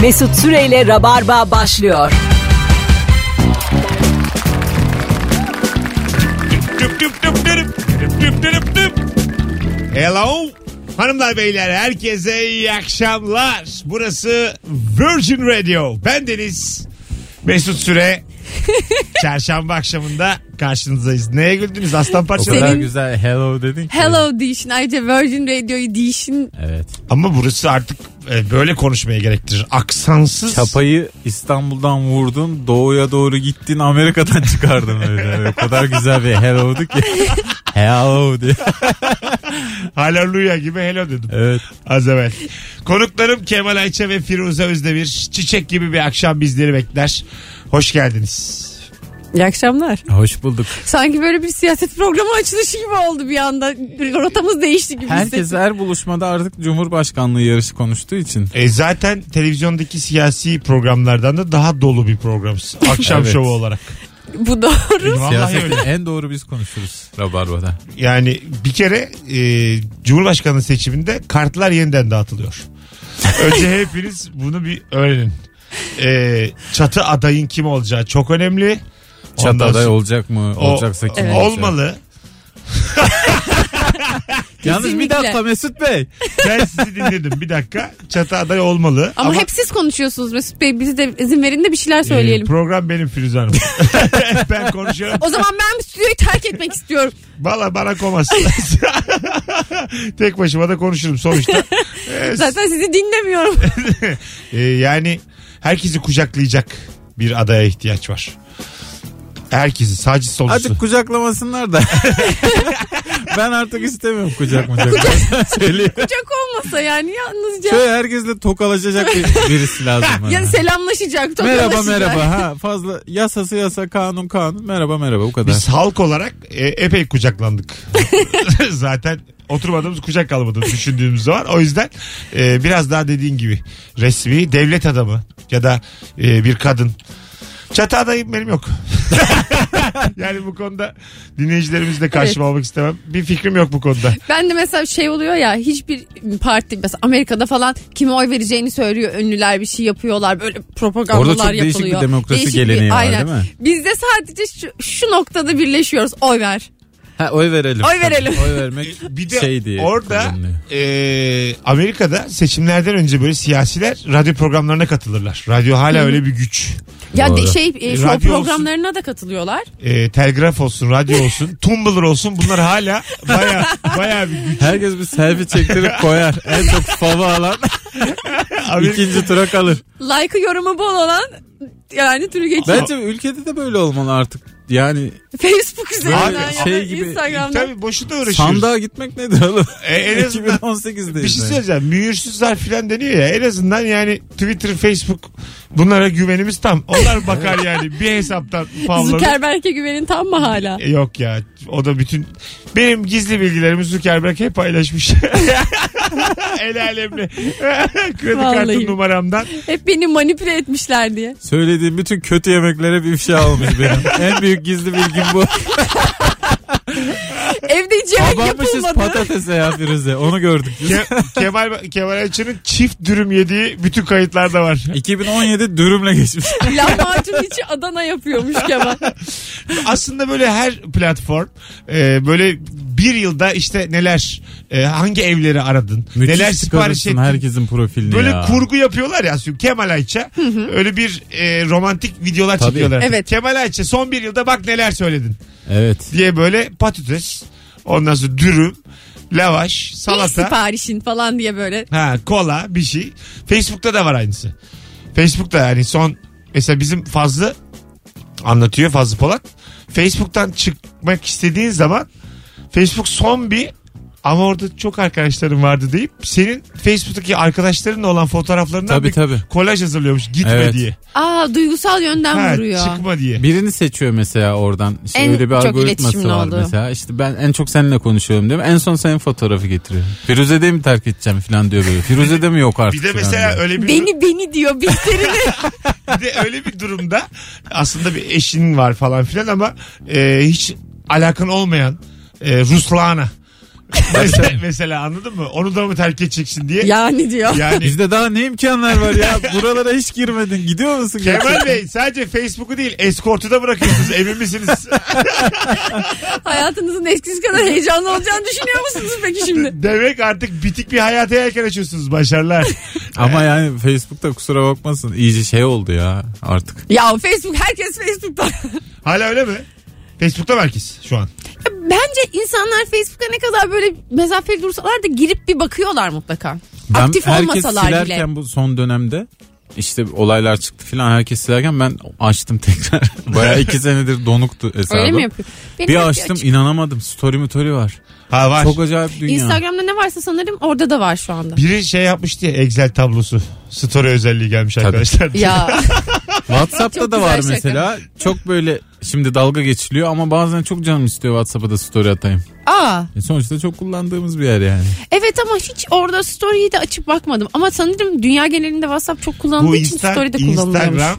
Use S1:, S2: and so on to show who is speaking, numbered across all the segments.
S1: Mesut Süreyle Rabarba başlıyor.
S2: Düp düp düp dürüp, düp düp dürüp düp. Hello. Hanımlar beyler herkese iyi akşamlar. Burası Virgin Radio. Ben Deniz Mesut Süre. Çarşamba akşamında karşınızdayız. Neye güldünüz aslan
S3: O kadar
S2: parçaları?
S4: Senin-
S3: güzel hello dedin ki.
S4: Hello deyişin ayrıca Virgin Radio'yu deyişin
S3: Evet.
S2: Ama burası artık e, böyle konuşmaya gerektirir. Aksansız.
S3: Çapayı İstanbul'dan vurdun, doğuya doğru gittin, Amerika'dan çıkardın öyle. O kadar güzel bir hello'du ki. Hello diye.
S2: Hallelujah gibi hello dedim.
S3: Evet.
S2: Az evvel. Konuklarım Kemal Ayça ve Firuze Özdemir. Çiçek gibi bir akşam bizleri bekler. Hoş geldiniz.
S4: İyi akşamlar.
S3: Hoş bulduk.
S4: Sanki böyle bir siyaset programı açılışı gibi oldu bir anda. Rotamız değişti gibi
S3: Herkes
S4: hissettim.
S3: her buluşmada artık Cumhurbaşkanlığı yarışı konuştuğu için.
S2: E zaten televizyondaki siyasi programlardan da daha dolu bir program. Akşam
S3: Evet.
S2: şovu olarak.
S4: Bu doğru.
S2: Vallahi
S3: Siyasette
S2: öyle.
S3: en doğru biz konuşuruz Rabarba'da.
S2: Yani bir kere e, Cumhurbaşkanı seçiminde kartlar yeniden dağıtılıyor. Önce hepiniz bunu bir öğrenin. E, çatı adayın kim olacağı çok önemli.
S3: Çat
S2: Ondan
S3: aday
S2: sonra-
S3: olacak mı?
S2: O-
S3: Olacaksa kim
S4: Evet.
S3: olacak?
S2: Olmalı.
S3: Yalnız bir
S4: Kesinlikle.
S3: dakika Mesut Bey.
S2: Ben sizi dinledim bir dakika. Çatı aday olmalı.
S4: Ama, hep siz konuşuyorsunuz Mesut Bey. Biz de izin verin de bir şeyler
S2: e,
S4: söyleyelim.
S2: program benim Firuze Hanım. ben konuşuyorum.
S4: o zaman ben stüdyoyu terk etmek istiyorum.
S2: Valla bana komazsınız. Tek başıma da konuşurum sonuçta. E,
S4: Zaten sizi dinlemiyorum.
S2: Ee, yani herkesi kucaklayacak bir adaya ihtiyaç var. Herkesi sadece solusu.
S3: Azıcık kucaklamasınlar da. ben artık istemiyorum kucak mucak. Söyleyeyim.
S4: Çok olmasa yani yalnızca.
S3: Şöyle herkesle tokalaşacak bir, birisi lazım. bana.
S4: Yani selamlaşacak,
S3: merhaba
S4: tokalaşacak.
S3: merhaba ha fazla yasası yasa kanun kanun merhaba merhaba bu kadar.
S4: şey-
S2: Biz halk olarak e, epey kucaklandık. Zaten oturmadığımız kucak kalmadı düşündüğümüz zaman. O yüzden e, biraz daha dediğin gibi resmi devlet adamı ya da e, bir kadın. Çatı adayım benim yok. yani bu konuda dinleyicilerimizi de karşıma almak istemem. Bir fikrim yok bu konuda.
S4: Ben de mesela şey oluyor ya hiçbir parti mesela Amerika'da falan kime oy vereceğini söylüyor. Ünlüler bir şey yapıyorlar böyle propagandalar
S3: Orada çok
S4: yapılıyor.
S3: değişik bir demokrasi geleneği var, değil mi?
S4: Bizde sadece şu, şu noktada birleşiyoruz oy ver.
S3: Ha, oy verelim.
S4: Oy verelim.
S3: Tabii, oy vermek
S2: bir de
S3: şey diye
S2: orada
S3: kullanılıyor.
S2: e, Amerika'da seçimlerden önce böyle siyasiler radyo programlarına katılırlar. Radyo hala öyle bir güç.
S4: Ya
S3: Doğru.
S4: de- şey e, show
S2: Radyo olsun.
S4: programlarına da katılıyorlar.
S2: E, telgraf olsun, radyo olsun, Tumblr olsun bunlar hala baya baya bir güç.
S3: Herkes bir selfie çektirip koyar. en çok fava alan
S2: Amerika,
S3: ikinci tura kalır.
S4: Like'ı yorumu bol olan yani türü geçiyor.
S3: Bence ülkede de böyle olmalı artık. Yani
S4: Facebook üzerinden
S2: Abi,
S4: ya da
S3: şey gibi-
S4: Instagram'dan.
S2: tabii boşuna uğraşıyoruz.
S3: sandığa gitmek nedir oğlum?
S2: E, en azından
S3: 2018'deyiz.
S2: bir şey
S3: yani.
S2: söyleyeceğim. Mühürsüz harf filan deniyor ya. En azından yani Twitter, Facebook bunlara güvenimiz tam. Onlar bakar yani bir hesaptan favları.
S4: Zuckerberg'e güvenin tam mı hala?
S2: E, Yok ya o da bütün benim gizli bilgilerimi Zuckerberg hep paylaşmış. El alemle. Kredi kartı
S4: Vallahi.
S2: numaramdan.
S4: Hep beni manipüle etmişler diye.
S3: Söylediğim bütün kötü yemeklere bir ifşa olmuş benim. en büyük gizli bilgim bu.
S4: Evde hiç yemek
S3: Abanmışız
S4: yapılmadı.
S3: patatese ya Firuze. Onu gördük. biz.
S2: Ke- Kemal, Kemal Ayça'nın çift dürüm yediği bütün kayıtlarda var.
S3: 2017 dürümle geçmiş.
S4: Lahmacun içi Adana yapıyormuş Kemal.
S2: Aslında böyle her platform e, böyle bir yılda işte neler e, hangi evleri aradın
S3: Müthiş
S2: neler sipariş
S3: çıkarırsın
S2: ettin.
S3: herkesin profilini
S2: Böyle
S3: ya.
S2: kurgu yapıyorlar ya şimdi Kemal Ayça. Öyle bir e, romantik videolar
S3: Tabii.
S2: çekiyorlar.
S4: Evet.
S2: Kemal Ayça son bir yılda bak neler söyledin.
S3: Evet.
S2: diye böyle patates ondan sonra dürüm lavaş
S4: İyi
S2: salata
S4: siparişin falan diye böyle.
S2: ha, kola bir şey Facebook'ta da var aynısı Facebook'ta yani son mesela bizim Fazlı anlatıyor Fazlı Polat Facebook'tan çıkmak istediğin zaman Facebook son bir ama orada çok arkadaşlarım vardı deyip senin Facebook'taki arkadaşlarınla olan fotoğraflarından
S3: Tabii,
S2: bir
S3: tabii.
S2: kolaj hazırlıyormuş gitme
S3: Evet.
S2: diye.
S4: Aa duygusal yönden
S2: Ha,
S4: vuruyor.
S2: çıkma diye.
S3: Birini seçiyor mesela oradan. İşte
S4: En
S3: öyle bir
S4: çok
S3: algoritması
S4: iletişimin
S3: var
S4: olduğu.
S3: mesela. İşte ben en çok seninle konuşuyorum diyor. En son senin fotoğrafı getiriyor. Firuze'de mi terk edeceğim falan diyor böyle. Firuze'de mi yok artık
S2: Bir de
S3: falan
S2: mesela
S3: diyor.
S2: öyle bir
S4: Beni beni diyor bildirini.
S2: Bir de öyle bir durumda aslında bir eşin var falan filan ama e, hiç alakan olmayan e, Ruslana mesela, mesela anladın mı? Onu da mı terk edeceksin diye.
S4: Yani diyor.
S2: Yani
S3: Bizde daha ne imkanlar var ya? Buralara hiç girmedin. Gidiyor musun? gerçekten?
S2: Kemal Bey sadece Facebook'u değil eskortu da bırakıyorsunuz. Emin misiniz?
S4: Hayatınızın eskisi kadar heyecanlı olacağını düşünüyor musunuz peki şimdi?
S2: Demek artık bitik bir hayata yelken açıyorsunuz. Başarılar.
S3: Ama yani Facebook'ta kusura bakmasın. iyice şey oldu ya artık.
S4: Ya Facebook herkes Facebook'ta.
S2: Hala öyle mi? Facebook'ta mı herkes şu an.
S4: Ya Bence insanlar Facebook'a ne kadar böyle mesafeli dursalar da girip bir bakıyorlar mutlaka.
S3: Ben
S4: Aktif
S3: herkes
S4: olmasalar
S3: silerken
S4: bile.
S3: bu son dönemde işte olaylar çıktı filan herkes silerken ben açtım tekrar. Bayağı iki senedir donuktu hesabım.
S4: Öyle mi yapıyor? Benim hep
S3: Bir açtım
S4: açık.
S3: inanamadım. Story mi story var.
S2: Ha var.
S3: Çok acayip dünya.
S4: Instagram'da ne varsa sanırım orada da var şu anda.
S2: Biri şey yapmıştı ya Excel tablosu. Story özelliği gelmiş arkadaşlar.
S4: Ya
S3: WhatsApp'ta
S4: Çok
S3: da
S4: güzel
S3: var
S4: şaka.
S3: mesela. Çok böyle şimdi dalga geçiliyor ama bazen çok canım istiyor WhatsApp'a da story atayım.
S4: aa
S3: E sonuçta çok kullandığımız bir yer yani.
S4: evet ama hiç orada story'yi de açıp bakmadım. Ama sanırım dünya genelinde WhatsApp çok kullanıldığı
S2: Bu
S4: için
S2: Insta-
S4: story'de kullanılıyormuş.
S2: Instagram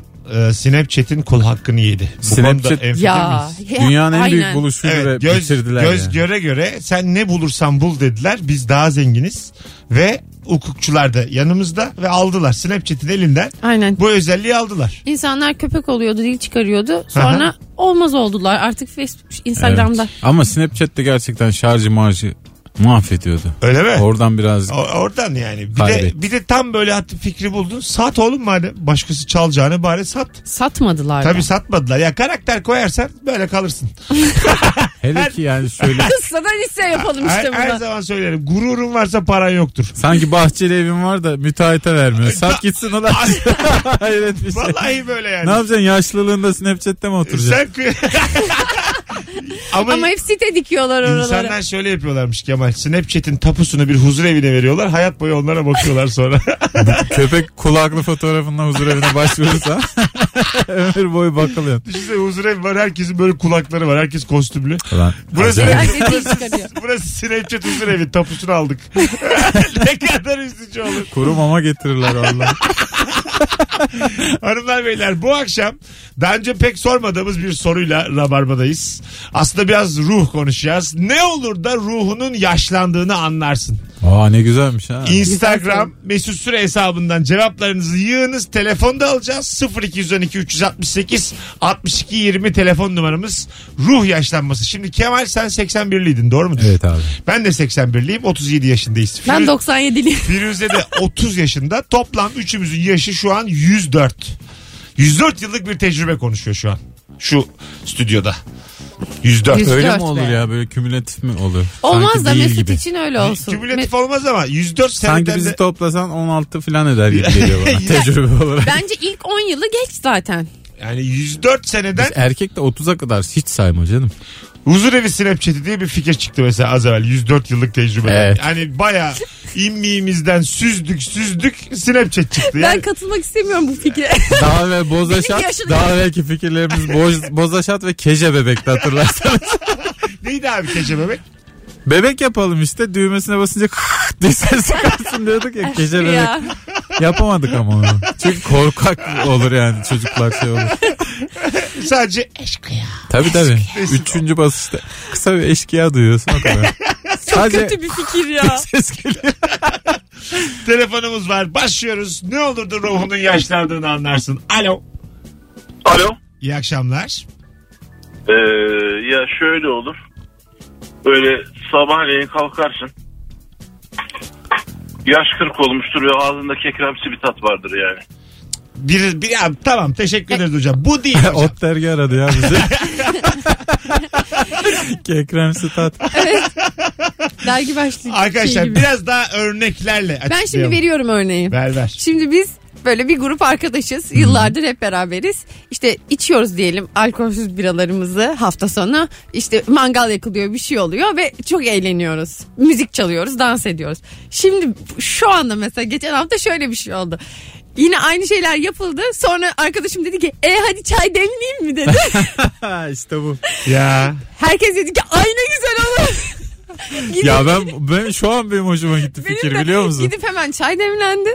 S2: e, Snapchat'in kul hakkını yedi. Bu
S3: Snapchat-
S2: konuda enfikir
S4: Ya,
S2: miyiz?
S4: he-
S3: Dünyanın en büyük
S4: aynen.
S3: buluşuydu
S2: Evet,
S3: ve
S2: göz,
S3: bitirdiler
S2: göz
S3: yani.
S2: göre göre sen ne bulursan bul dediler. Biz daha zenginiz ve hukukçular da yanımızda ve aldılar. Snapchat'in elinden
S4: Aynen.
S2: bu özelliği aldılar.
S4: İnsanlar köpek oluyordu, dil çıkarıyordu. Sonra
S2: Aha.
S4: olmaz oldular. Artık Facebook,
S3: Evet.
S4: Instagram'da.
S3: Ama Snapchat'te gerçekten şarjı marjı mahvediyordu.
S2: Öyle mi?
S3: Oradan biraz
S2: O- Oradan yani. Bir de,
S3: Kaybettim.
S2: bir de tam böyle hat- fikri buldun. Sat oğlum madem. Başkası çalacağını bari sat.
S4: Satmadılar.
S2: Tabii
S4: da.
S2: satmadılar. Ya karakter koyarsan böyle kalırsın.
S3: hele ki yani şöyle
S4: Kız sana liste yapalım
S2: Her,
S4: işte
S2: her
S4: buna.
S2: zaman söylerim. Gururun varsa paran yoktur.
S3: Sanki bahçeli evim var da müteahhite vermiyor. Sat gitsin ulan. Hayret bir şey.
S2: Vallahi böyle yani.
S3: Ne yapacaksın yaşlılığında Snapchat'te mi oturacaksın?
S2: Sen kı- Ama,
S4: Ama hep site dikiyorlar oralara.
S2: insanlar şöyle yapıyorlarmış Kemal. Snapchat'in tapusunu bir huzur evine veriyorlar. Hayat boyu onlara bakıyorlar sonra.
S3: Köpek kulaklı fotoğrafından huzur evine başvurursa ömür boyu bakılıyorsun.
S2: Düşünsene şey huzur evi var. Herkesin böyle kulakları var. Herkes kostümlü.
S3: Ulan,
S2: Burası
S3: acayip.
S4: Ya dediği şey çıkarıyor.
S2: Burası Snapchat huzur evi. Tapusunu aldık. ne kadar üzücü olur.
S3: Kuru mama getirirler valla.
S2: Hanımlar beyler bu akşam daha önce pek sormadığımız bir soruyla Rabarba'dayız. Aslında biraz ruh konuşacağız. Ne olur da ruhunun yaşlandığını anlarsın.
S3: Aa ne güzelmiş ha.
S2: Instagram mesut süre hesabından cevaplarınızı yığınız. Telefonda alacağız. 0212 368 62 20 telefon numaramız. Ruh yaşlanması. Şimdi Kemal sen 81'liydin doğru mudur?
S3: Evet abi.
S2: Ben de 81'liyim 37 yaşındayız.
S4: Ben
S2: Firu-
S4: 97'liyim.
S2: Firuze de 30 yaşında. Toplam üçümüzün yaşı şu an 104. 104 yıllık bir tecrübe konuşuyor şu an. Şu stüdyoda. 104.
S4: Yüz-
S3: Öyle
S4: Dört
S3: mi olur
S4: be.
S3: ya böyle kümülatif mi olur?
S4: Olmaz
S3: Sanki
S4: da
S3: değil
S4: Mesut
S3: gibi.
S4: için öyle olsun.
S2: Kümülatif
S4: Me-
S2: olmaz ama 104
S3: Sanki
S2: seneden
S3: bizi
S2: de...
S3: toplasan 16 falan eder gibi geliyor bana tecrübe olarak.
S4: Bence ilk 10 yılı geç zaten.
S2: Yani 104 seneden
S3: Erkek de 30'a kadar hiç sayma canım.
S2: Huzurevi Snapchat'i diye bir fikir çıktı mesela az evvel 104 yıllık tecrübe.
S3: Evet.
S2: Hani baya imliğimizden süzdük süzdük Snapchat çıktı. Yani
S4: Ben katılmak istemiyorum bu fikre.
S3: Daha ve bozaşat.
S4: Bizim yaşını-
S3: daha belki fikirlerimiz boz, bozaşat ve keje bebekte hatırlarsanız.
S2: neydi abi keçe bebek?
S3: Bebek yapalım işte düğmesine basınca diye ses çıkarsın diyorduk ya keje bebek.
S4: ya.
S3: Yapamadık ama onu. Çünkü korkak olur yani çocuklar şey olur.
S2: Sadece eşkıya.
S3: Tabii tabii. Üçüncü basışta kısa bir eşkıya duyuyorsun o kadar.
S4: Çok
S3: Sadece-
S4: kötü bir fikir ya.
S3: Ses geliyor.
S2: Telefonumuz var başlıyoruz. Ne olur da ruhunun yaşlandığını anlarsın. Alo.
S5: Alo.
S2: İyi akşamlar.
S5: Ee, ya şöyle olur. Böyle sabahleyin kalkarsın. Yaş 40 olmuştur ve ağzında kekremsi bir tat vardır yani.
S2: Bir, bir, ya, tamam teşekkür
S4: E-
S2: ederiz hocam. Bu değil hocam.
S3: Ot dergi aradı ya bizi. Kekremsi tat.
S4: Dergi başlığı. şey
S2: Arkadaşlar
S4: gibi.
S2: biraz daha örneklerle
S4: Ben şimdi
S2: açıklayalım.
S4: veriyorum örneği.
S2: Ver ver.
S4: Şimdi biz böyle bir grup arkadaşız. Yıllardır hep beraberiz. İşte içiyoruz diyelim alkolsüz biralarımızı hafta sonu. İşte mangal yakılıyor bir şey oluyor ve çok eğleniyoruz. Müzik çalıyoruz, dans ediyoruz. Şimdi şu anda mesela geçen hafta şöyle bir şey oldu. Yine aynı şeyler yapıldı. Sonra arkadaşım dedi ki e hadi çay demleyeyim mi dedi.
S3: Ha işte bu.
S2: Ya.
S4: Herkes dedi ki ay ne güzel olur. Gidip-
S3: Ya ben ben şu an benim hoşuma gitti
S4: benim
S3: fikir
S4: de
S3: biliyor musun?
S4: Gidip hemen çay demlendi.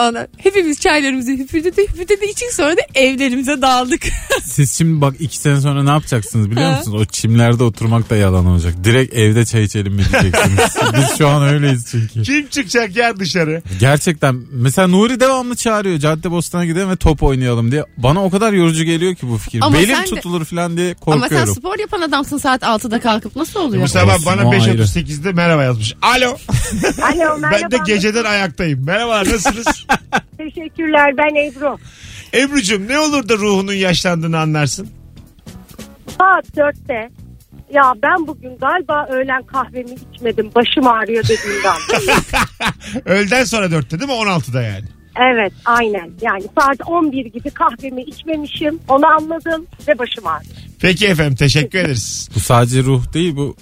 S4: Ana, hepimiz çaylarımızı hüpürdedi hüpürdedi için sonra da evlerimize dağıldık.
S3: Siz şimdi bak iki sene sonra ne yapacaksınız biliyor musunuz? O çimlerde oturmak da yalan olacak. Direkt evde çay içelim mi diyeceksiniz. Biz şu an öyleyiz çünkü.
S2: Kim çıkacak ya dışarı?
S3: Gerçekten mesela Nuri devamlı çağırıyor Cadde Bostan'a gidelim ve top oynayalım diye. Bana o kadar yorucu geliyor ki bu fikir.
S4: Ama
S3: Belim
S4: sen de-
S3: tutulur falan diye
S4: Ama sen
S3: korkuyorum.
S4: spor yapan adamsın saat 6'da kalkıp nasıl oluyor?
S2: Bu sabah
S3: Olsun,
S2: bana
S3: o ayrı.
S2: 5.38'de merhaba yazmış. Alo.
S6: Alo merhaba.
S2: Ben de geceden ayaktayım. Merhabalar nasılsınız?
S6: Teşekkürler ben Ebru.
S2: Ebru'cum ne olur da ruhunun yaşlandığını anlarsın.
S6: Saat dörtte. Ya ben bugün galiba öğlen kahvemi içmedim. Başım ağrıyor dediğimden.
S2: Öğleden sonra 4'te değil mi? 16'da yani.
S6: evet aynen. Yani saat 11 gibi kahvemi içmemişim. Onu anladım ve başım ağrıyor.
S2: Peki efendim teşekkür ederiz.
S3: Bu sadece ruh değil bu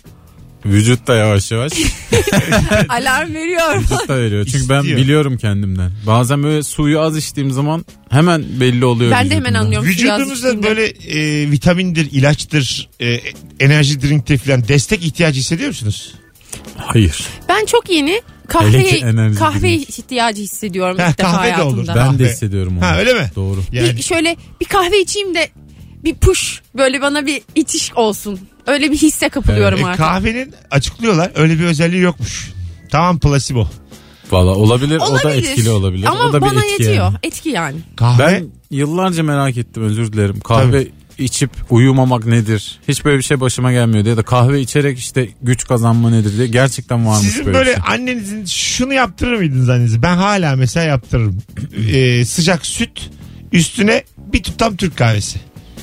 S3: vücut da yavaş yavaş
S4: Alarm veriyor.
S3: vücut da veriyor. Çünkü ben
S2: İstiyor.
S3: biliyorum kendimden. Bazen böyle suyu az içtiğim zaman hemen belli oluyor.
S4: ben de hemen
S3: vücudumdan.
S4: anlıyorum. suyu az
S2: Vücudumuzda
S4: içtiğinde.
S2: böyle e, vitamindir, ilaçtır, e, enerji drinktir falan destek ihtiyacı hissediyor musunuz?
S3: Hayır.
S4: Ben çok yeni
S3: Hele ki
S4: kahveye,
S3: enerji
S4: kahve
S3: drink.
S4: ihtiyacı hissediyorum
S2: Ha,
S4: ilk defa
S2: kahve de olur.
S4: hayatımda.
S3: Ben
S2: Kahve.
S3: de hissediyorum onu.
S2: Ah Ha öyle mi?
S3: Doğru.
S2: Yani
S4: Bir şöyle bir kahve içeyim de bir push böyle bana bir itiş olsun. Öyle bir hisse kapılıyorum
S2: e,
S4: artık.
S2: kahvenin açıklıyorlar öyle bir özelliği yokmuş. Tamam plasebo.
S3: Valla olabilir, o da etkili olabilir.
S4: Ama
S3: o da bir
S4: bana
S3: etki
S4: yetiyor.
S3: yani.
S4: Etki yani.
S2: Kahve
S3: Ben yıllarca merak ettim özür dilerim. Kahve içip uyumamak nedir? Hiç böyle bir şey başıma gelmiyor diye de kahve içerek işte güç kazanma nedir diye gerçekten varmış
S2: Sizin
S3: böyle.
S2: böyle
S3: bir şey.
S2: annenizin şunu yaptırır mıydınız annenize? Ben hala mesela yaptırırım. Ee, sıcak süt üstüne bir tutam Türk kahvesi.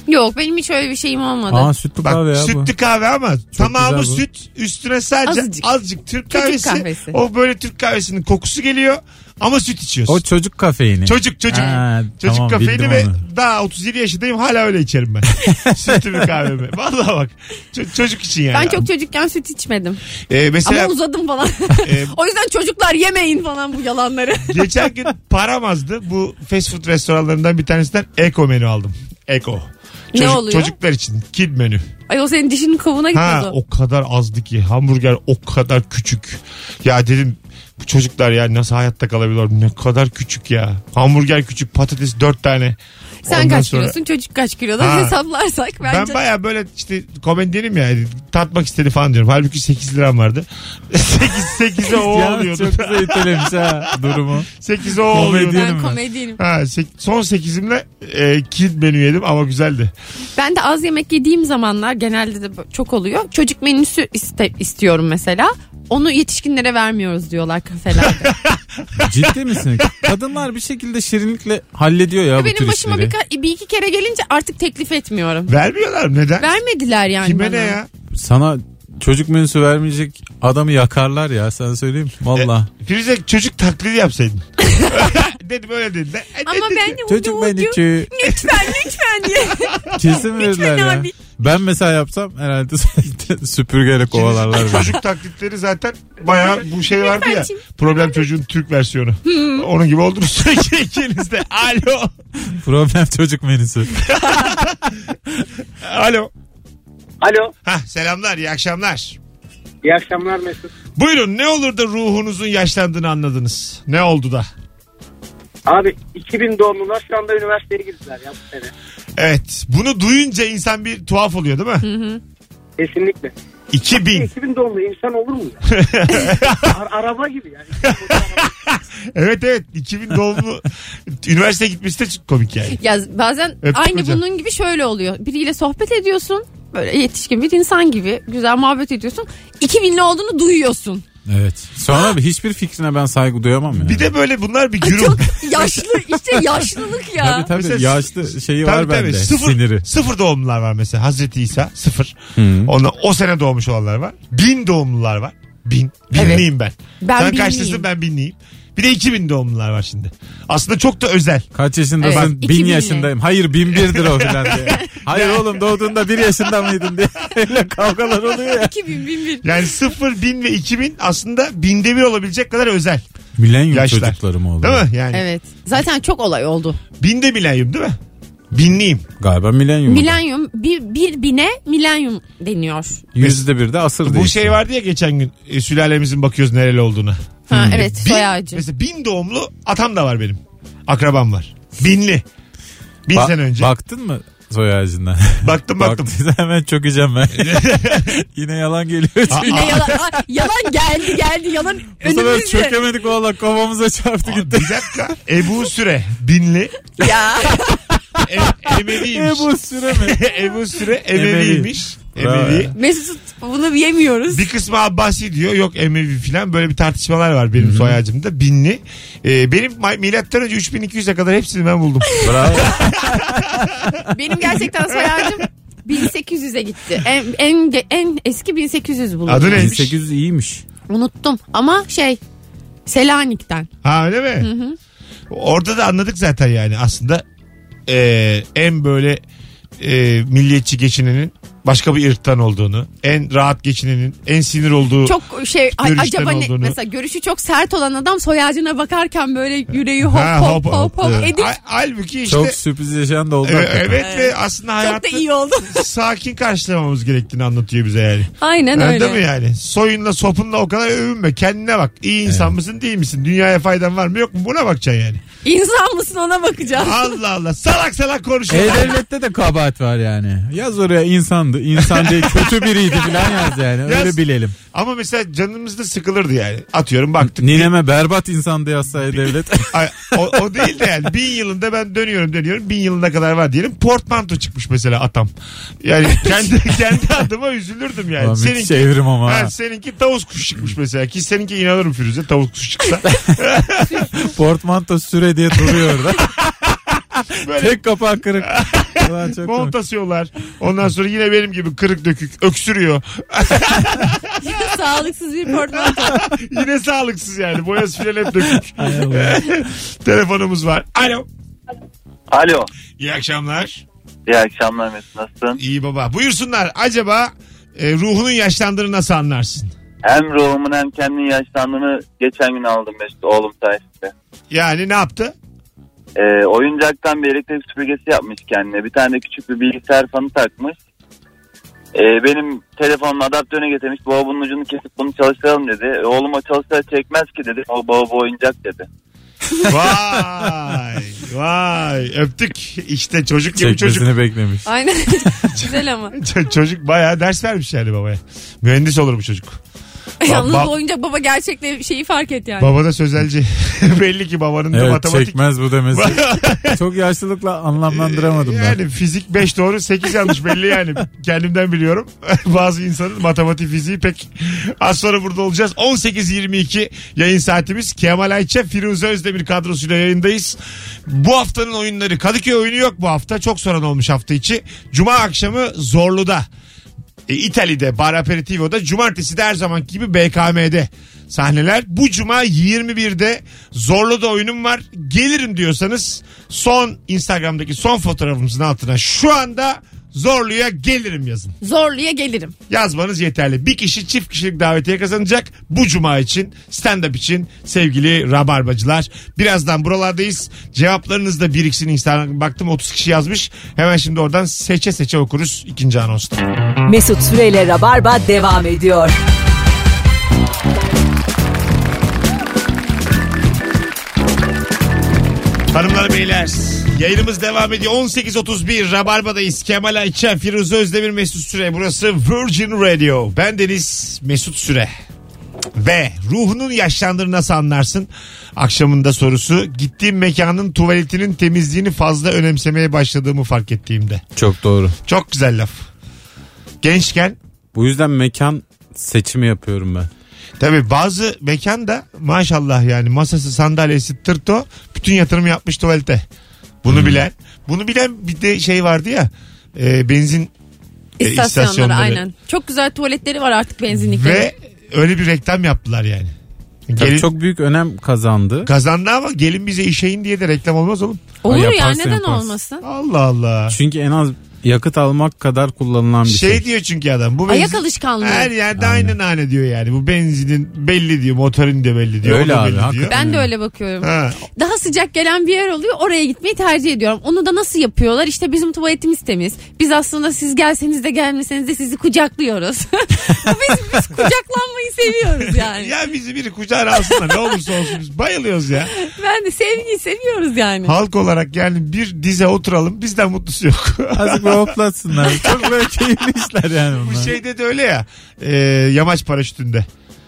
S4: Yok benim hiç öyle bir şeyim olmadı.
S3: Aa sütlü
S2: Bak
S3: kahve ya
S2: sütlü
S3: bu.
S2: kahve ama tamamı
S3: güzel bu.
S2: süt üstüne sadece azıcık,
S4: Azıcık.
S2: Türk
S4: Çocuk
S2: kahvesi.
S4: kahvesi.
S2: O böyle Türk kahvesinin kokusu geliyor ama süt içiyorsun.
S3: O çocuk kafeini.
S2: Çocuk çocuk.
S3: Ha,
S2: Çocuk
S3: tamam,
S2: kafeini
S3: bildim
S2: ve
S3: onu.
S2: daha 37 yaşındayım hala öyle içerim ben. Sütümü kahvemi. Vallahi bak. Ço- çocuk için yani.
S4: Ben çok çocukken süt içmedim.
S2: Ee, mesela
S4: Ama uzadım falan.
S2: e,
S4: o yüzden çocuklar yemeyin falan bu yalanları.
S2: Geçen gün param azdı. Bu fast food restoranlarından bir tanesinden eko menü aldım. Eko.
S4: Ne
S2: Çocuk-
S4: oluyor?
S2: Çocuklar için kid menü.
S4: Ay o senin dişinin kavuğuna
S2: Ha
S4: gitmedi.
S2: o kadar azdı ki hamburger o kadar küçük. Ya dedim bu çocuklar ya nasıl hayatta kalabiliyor ne kadar küçük ya. Hamburger küçük patates dört tane.
S4: Sen
S2: Ondan
S4: kaç
S2: sonra-
S4: kilosun çocuk kaç
S2: Ha.
S4: kiloda hesaplarsak bence.
S2: Ben baya böyle işte komedyenim ya yani, tatmak istedi falan diyorum. Halbuki 8 liram vardı. 8 8'e o
S3: Ya,
S2: oluyordu.
S3: çok güzel itelemiş ha durumu.
S2: 8'e o oluyordu.
S3: Komedyen.
S4: Ben
S3: Diyelim ben.
S4: komedyenim.
S2: Ha, sek- son 8'imle e, kid menü yedim ama güzeldi.
S4: Ben de az yemek yediğim zamanlar genelde de çok oluyor. Çocuk menüsü iste- istiyorum mesela. Onu yetişkinlere vermiyoruz diyorlar kafelerde.
S3: Ciddi misin? Kadınlar bir şekilde şirinlikle hallediyor ya bu
S4: Benim
S3: tür
S4: başıma
S3: işleri.
S4: bir, ka- bir iki kere gelince artık teklif etmiyorum.
S2: Vermiyorlar mı? Neden?
S4: Vermediler yani
S2: Kime
S4: bana.
S2: ne ya?
S3: Sana çocuk menüsü vermeyecek adamı yakarlar ya sen söyleyeyim.
S2: E,
S3: Valla.
S2: Firuze çocuk taklidi yapsaydın. dedim öyle dedi. de. E,
S4: Ama
S2: dedi.
S4: ben de
S3: Çocuk
S4: ucu ucu.
S3: menüsü.
S4: Lütfen lütfen diye.
S3: Kesin verirler ya.
S4: abi.
S3: Ben mesela yapsam herhalde süpürgeyle kovalarlar. beni.
S2: Çocuk taklitleri zaten bayağı bu şey vardı ya.
S4: Lütfen şimdi.
S2: Problem çocuğun Türk versiyonu. Onun gibi oldunuz sürekli ikiniz de. Alo.
S3: Problem çocuk menüsü.
S2: Alo.
S7: Alo.
S2: Hah, selamlar iyi akşamlar.
S7: İyi akşamlar Mesut.
S2: Buyurun ne olur da ruhunuzun yaşlandığını anladınız. Ne oldu da?
S7: Abi 2000 doğumlular şu anda üniversiteye girdiler ya bu sene.
S2: Evet bunu duyunca insan bir tuhaf oluyor değil mi?
S7: Kesinlikle.
S2: 2000.
S7: 2000 doğumlu insan olur mu ya? Ar- araba gibi yani.
S2: Evet evet 2000 doğumlu üniversite gitmesi de çok komik yani.
S4: Ya bazen
S2: Öptük
S4: aynı
S2: hocam.
S4: bunun gibi şöyle oluyor. Biriyle sohbet ediyorsun. Böyle yetişkin bir insan gibi güzel muhabbet ediyorsun. 2000'li olduğunu duyuyorsun.
S3: Evet. Sonra bir- hiçbir fikrine ben saygı duyamam yani.
S2: Bir de böyle bunlar bir gürültü.
S4: Çok yaşlı işte yaşlılık ya.
S3: Tabii tabii
S2: Mesela-
S3: yaşlı şeyi
S2: Tabii
S3: var
S2: tabii.
S3: bende.
S2: Sıfır,
S3: Siniri.
S2: sıfır doğumlular var mesela. Hazreti İsa sıfır. Ondan, o sene doğmuş olanlar var. Bin doğumlular var. Bin. Binliyim ben.
S4: Ben
S2: Sen
S4: binliyim.
S2: kaçlısın ben binliyim. Bir de iki bin doğumlular var şimdi. Aslında çok da özel.
S3: Kaç yaşındasın?
S4: Evet, iki
S3: bin
S4: binli.
S3: yaşındayım. Hayır bin birdir o filan diye. Hayır oğlum doğduğunda bir yaşında mıydın diye. Öyle kavgalar oluyor ya.
S4: 2000 1001.
S2: Yani sıfır, bin ve iki bin aslında binde bir olabilecek kadar özel.
S3: Milenyum
S2: Yaşlar.
S3: çocukları mı oldu?
S2: Değil mi? Yani
S4: Evet. Zaten çok olay oldu.
S2: binde milenyum değil mi? Binliyim.
S3: Galiba milenyum.
S4: Milenyum bir, bir bine milenyum deniyor.
S3: Yüzde bir de asır
S2: Bu
S3: değişti.
S2: şey vardı ya geçen gün e, sülalemizin bakıyoruz nereli olduğuna.
S3: Hmm.
S4: Ha, evet soy ağacı.
S2: Mesela bin doğumlu atam da var benim. Akrabam var. Binli. Bin
S3: Ba-
S2: sene önce.
S3: Baktın mı soy ağacından?
S2: baktım baktım.
S3: Baktıysa hemen çökeceğim ben. Yine yalan geliyor.
S2: Aa,
S3: çünkü.
S4: Yine yalan, Ay, yalan geldi geldi yalan
S3: Bu sefer
S4: önümüzde.
S3: çökemedik valla kafamıza çarptı
S2: Aa,
S3: gitti.
S2: bir dakika. Ebu Süre. Binli.
S4: Ya.
S2: E, Emeliymiş.
S3: Ebu Süre mi?
S2: Ebu Süre Emeliymiş.
S3: Bravo
S2: Emevi.
S3: ya.
S4: Mesut bunu yemiyoruz.
S2: Bir kısmı Abbasi diyor. Yok Emevi falan. Böyle bir tartışmalar var benim soy ağacımda. Binli. Ee, benim ma- milattan önce 3200'e kadar hepsini ben buldum.
S3: Bravo.
S4: Benim gerçekten soy ağacım 1800'e gitti. En, en, ge- en eski 1800 bulundu.
S2: Adı neymiş?
S3: 1800 iyiymiş.
S4: Unuttum ama şey Selanik'ten.
S2: Ha öyle mi? Orada da anladık zaten yani aslında eee, en böyle eee, milliyetçi geçinenin başka bir ırktan olduğunu, en rahat geçinenin, en sinir olduğu
S4: Çok şey ay-
S2: Görüşten
S4: acaba ne,
S2: olduğunu.
S4: mesela görüşü çok sert olan adam soy ağacına bakarken böyle yüreği hop
S2: Ha,
S4: hop hop hop,
S2: Evet.
S4: edip
S2: Hal- Halbuki işte
S3: Çok sürpriz yaşayan da oldu.
S2: e-
S3: hakikaten.
S2: evet ve aslında
S4: çok da
S2: hayatta
S4: iyi oldu.
S2: sakin karşılamamız gerektiğini anlatıyor bize yani.
S4: Aynen
S2: Öyle. mi
S4: öyle.
S2: yani? Soyunla sopunla o kadar övünme. Kendine bak. İyi insan mısın değil misin? Dünyaya faydan var mı yok mu? Buna bakacaksın yani.
S4: İnsan mısın ona bakacağız.
S2: Allah Allah. Salak salak konuşuyor.
S3: E-Devlet'te de kabahat var yani. Yaz oraya insandı, insan değil, kötü biriydi falan yaz yani. Öyle
S2: Yaz.
S3: bilelim.
S2: Ama mesela canımız da sıkılırdı yani. Atıyorum baktık.
S3: Nineme berbat insandı yazsa E-Devlet.
S2: Ay, o, o değil de yani. Bin yılında ben dönüyorum dönüyorum. Bin yılına kadar var diyelim. Portmanto çıkmış mesela atam. Yani kendi, kendi adıma üzülürdüm yani.
S3: Ulan müthiş
S2: seninki,
S3: evrim ama.
S2: ha, seninki tavus kuşu çıkmış mesela. Ki seninki inanırım Firuze tavus kuşu çıksa.
S3: Portmanto süre diye duruyor orada.
S2: Böyle
S3: Tek kapağı kırık. Ulan çok komik.
S2: mont asıyorlar. Ondan sonra yine benim gibi kırık dökük öksürüyor.
S4: Sağlıksız bir portmanto.
S2: yine sağlıksız yani. Boyası filan hep dökük.
S3: Ay Allah.
S2: Telefonumuz var. Alo.
S5: Alo.
S2: İyi akşamlar.
S5: İyi akşamlar Mesut nasılsın?
S2: İyi baba. Buyursunlar. Acaba e, ruhunun yaşlandığını nasıl anlarsın?
S5: Hem ruhumun hem kendinin yaşlandığını geçen gün aldım Mesut oğlum sayesinde.
S2: Yani ne yaptı?
S5: Ee, oyuncaktan bir elektrik süpürgesi yapmış kendine. Bir tane de küçük bir bilgisayar fanı takmış. Ee, benim telefonumu adaptörüne getirmiş. Baba bunun ucunu kesip bunu çalıştıralım dedi. E, oğlum o çalışsa çekmez ki dedi. O baba bu oyuncak dedi.
S2: Vay vay öptük. İşte çocuk gibi çocuk.
S3: Çekmesini beklemiş.
S4: Aynen. Güzel ama.
S2: Ç- çocuk bayağı ders vermiş yani babaya. Mühendis olur bu çocuk.
S4: Yalnız
S2: ba-
S4: bu oyuncak baba gerçekle şeyi fark et yani.
S2: Baba da sözelci. Belli ki babanın da
S3: Evet
S2: matematik.
S3: çekmez bu demesi. çok yaşlılıkla anlamlandıramadım ben.
S2: Yani fizik 5 doğru 8 yanlış belli yani. Kendimden biliyorum. Bazı insanın matematik fiziği pek. Az sonra burada olacağız. 18.22 yayın saatimiz. Kemal Ayça, Firuze Özdemir kadrosuyla yayındayız. Bu haftanın oyunları. Kadıköy oyunu yok bu hafta. Çok soran olmuş hafta içi. Cuma akşamı Zorlu'da. E, İtali'de Bar Aperitivo'da cumartesi de her zamanki gibi BKM'de sahneler. Bu cuma 21'de Zorlu'da oyunum var. Gelirim diyorsanız son Instagram'daki son fotoğrafımızın altına şu anda Zorlu'ya gelirim yazın.
S4: Zorluya gelirim.
S2: Yazmanız yeterli. Bir kişi çift kişilik davetiye kazanacak bu cuma için stand-up için sevgili rabarbacılar. Birazdan buralardayız. Cevaplarınız da biriksin Instagram baktım 30 kişi yazmış. Hemen şimdi oradan seçe seçe okuruz ikinci anonsta.
S1: Mesut Süreyle Rabarba devam ediyor.
S2: Hanımlar beyler yayınımız devam ediyor. 18.31 Rabarba'dayız. Kemal Ayça, Firuze Özdemir, Mesut Süre. Burası Virgin Radio. Ben Deniz Mesut Süre. Ve ruhunun yaşlandığını nasıl anlarsın? Akşamında sorusu gittiğim mekanın tuvaletinin temizliğini fazla önemsemeye başladığımı fark ettiğimde.
S3: Çok doğru.
S2: Çok güzel laf. Gençken
S3: Bu yüzden mekan seçimi yapıyorum ben.
S2: Tabii bazı mekan da maşallah yani masası sandalyesi tırto bütün yatırım yapmış tuvalete. Bunu
S3: Hmm.
S2: bilen. Bunu bilen bir de şey vardı ya e, benzin E,
S4: İstasyonlara
S2: istasyonları.
S4: aynen. Çok güzel tuvaletleri var artık benzinliklerin.
S2: ve öyle bir reklam yaptılar yani.
S3: Tabii
S2: Gelin,
S3: çok büyük önem kazandı.
S2: Kazandı ama gelin bize işeyin diye de reklam olmaz oğlum.
S4: Olur
S3: Ha,
S4: ya
S3: yaparsın,
S4: neden
S3: yaparsın.
S4: olmasın?
S2: Allah Allah.
S3: Çünkü en az yakıt almak kadar kullanılan bir şey.
S2: Şey diyor çünkü adam. Bu
S4: Ayak
S2: benzin-
S4: alışkanlığı.
S2: Her yerde aynı nane diyor yani. Bu benzinin belli diyor. Motorun da belli diyor.
S3: Öyle
S2: o da
S3: abi,
S2: belli diyor.
S3: hakikaten.
S4: Ben de öyle bakıyorum.
S2: Ha,
S4: Daha sıcak gelen bir yer oluyor oraya gitmeyi tercih ediyorum. Onu da nasıl yapıyorlar? İşte bizim tuvaletimiz temiz. Biz aslında siz gelseniz de gelmeseniz de sizi kucaklıyoruz. biz, biz kucaklanmayı seviyoruz yani.
S2: Ya bizi biri kucağına alsınlar ne olursa olsun biz bayılıyoruz ya.
S4: Ben de sevgiyi seviyoruz yani.
S2: Halk olarak yani bir dize oturalım bizden mutlusu yok.
S3: Azıcık bir hoplatsınlar. Çok böyle keyifli işler yani
S2: Bu şey-
S3: bunlar.
S2: şeyde de öyle ya e, yamaç paraşütünde.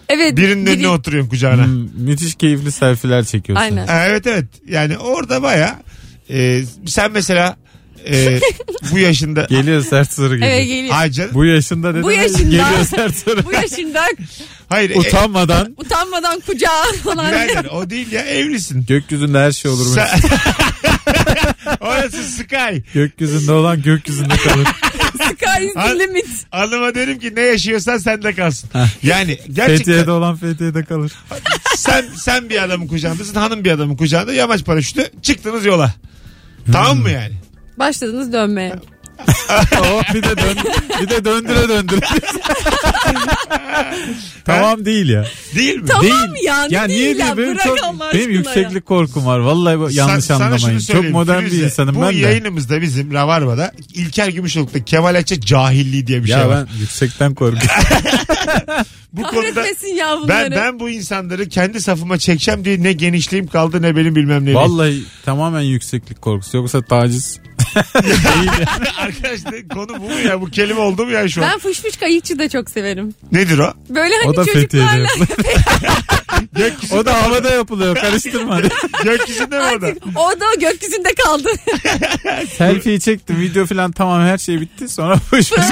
S4: Evet.
S2: Birinin önüne
S4: biri-
S2: oturuyorsun kucağına.
S3: Hmm, müthiş keyifli selfie'ler çekiyorsun.
S4: Aynen.
S2: Ha, evet evet yani orada baya e, sen mesela e, bu yaşında
S3: Geliyor sert soru geliyor.
S4: Evet geliyor.
S2: Ay canım.
S3: Bu yaşında dedim.
S4: Bu yaşında.
S3: Geliyor sert soru.
S4: Bu yaşında
S2: Hayır. e,
S3: Utanmadan
S4: utanmadan kucağa falan.
S2: birader, o değil ya evlisin.
S3: gökyüzünde her şey olurmuş.
S2: Sen- Orası Sky.
S3: Gökyüzünde olan gökyüzünde kalır.
S4: Sky is
S2: Al-
S4: the limit.
S2: Hanıma derim ki ne yaşıyorsan sende kalsın. Yani
S3: Fethiye'de
S2: gerçekten
S3: olan Fethiye'de kalır.
S2: sen sen bir adamın kucağındasın hanım bir adamın kucağında yamaç paraşütü çıktınız yola. Tamam
S3: Hmm.
S2: mı yani?
S4: Başladınız dönmeye.
S3: Oh, bir de dön, bir de döndüre döndüre. tamam değil ya.
S2: Değil mi?
S4: Tamam
S3: değil.
S4: ya, ne
S3: ya
S4: değil
S3: niye
S4: ya,
S3: diye benim
S4: bırak
S3: çok
S4: Allah aşkına
S3: benim yükseklik korkum var. Vallahi bu- yanlış
S2: Sa- sana
S3: anlamayın.
S2: şunu
S3: Çok
S2: söyleyeyim,
S3: modern bir
S2: Firuze,
S3: insanım
S2: bu
S3: ben de.
S2: yayınımızda bizim Rabarba'da İlker Gümüşoluk'ta Kemal Ayça cahilliği diye bir
S3: ya
S2: şey var.
S3: ben yüksekten korkuyorum.
S2: Bu
S4: Kahretmesin ya
S2: ben,
S4: bunları.
S2: ben bu insanları kendi safıma çekeceğim diye ne genişliğim kaldı ne benim bilmem neyim.
S3: Vallahi tamamen yükseklik korkusu. Yoksa taciz.
S2: Arkadaşlar konu bu mu ya? Bu kelime oldu mu ya şu an?
S4: Ben fışfış kayıkçı da çok severim.
S2: Nedir o?
S4: Böyle hani
S3: o da Fethiye'de
S4: çocuklarla
S3: yapılıyor. o da havada yapılıyor. Karıştırma.
S2: Gökyüzünde mi orada?
S4: o da gökyüzünde kaldı.
S3: Selfie'yi çektim. Video falan tamam her şey bitti. Sonra boş boş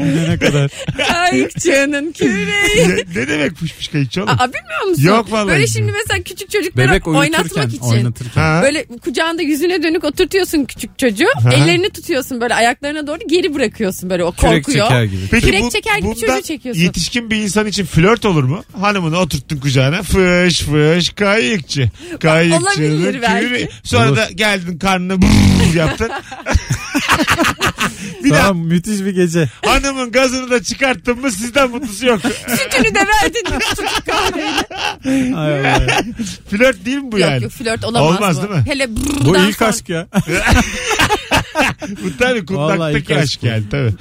S3: ne kadar.
S4: Kayıkçının küreği.
S2: ne, ne demek fışfış kayıkçı oğlum?
S4: Aa, bilmiyor musun?
S2: Yok vallahi
S4: Böyle
S2: hiç
S4: şimdi mesela küçük çocukları
S3: Bebek
S4: oynatmak
S3: oynatırken.
S4: için.
S3: oynatırken.
S2: Ha?
S4: Böyle kucağında yüzüne dönük oturtuyorsun küçük çocuğu.
S2: Ha.
S4: Ellerini tutuyorsun böyle ayaklarına doğru geri bırakıyorsun böyle o korkuyor.
S3: Kürek çeker gibi.
S4: Kürek çeker gibi
S2: bundan
S4: çocuğu çekiyorsun.
S2: Yetişkin bir insan için flört olur mu? Hanımını oturttun kucağına fış fış kayıkçı. Kayıkçının
S4: Olabilir belki.
S2: kürü. Sonra
S3: Olur.
S2: da geldin karnına brrr yaptın. bir daha
S3: Tamam müthiş bir gece.
S2: hanımın gazını da çıkarttın mı sizden mutlusu yok.
S4: Sütünü de verdin. Çocuk kahve.
S3: Ay Allah.
S2: flört değil mi bu
S4: Yok
S2: yani?
S4: yok flört olamaz
S2: Olmaz
S4: bu.
S2: değil mi?
S4: Hele
S3: Bu
S4: brrrdan
S3: ilk
S4: sonra-
S3: aşk ya.
S2: Bu tabii
S3: Vallahi
S2: kundaktaki
S3: ilk
S2: aşk
S3: aşk bu.
S2: yani tabii.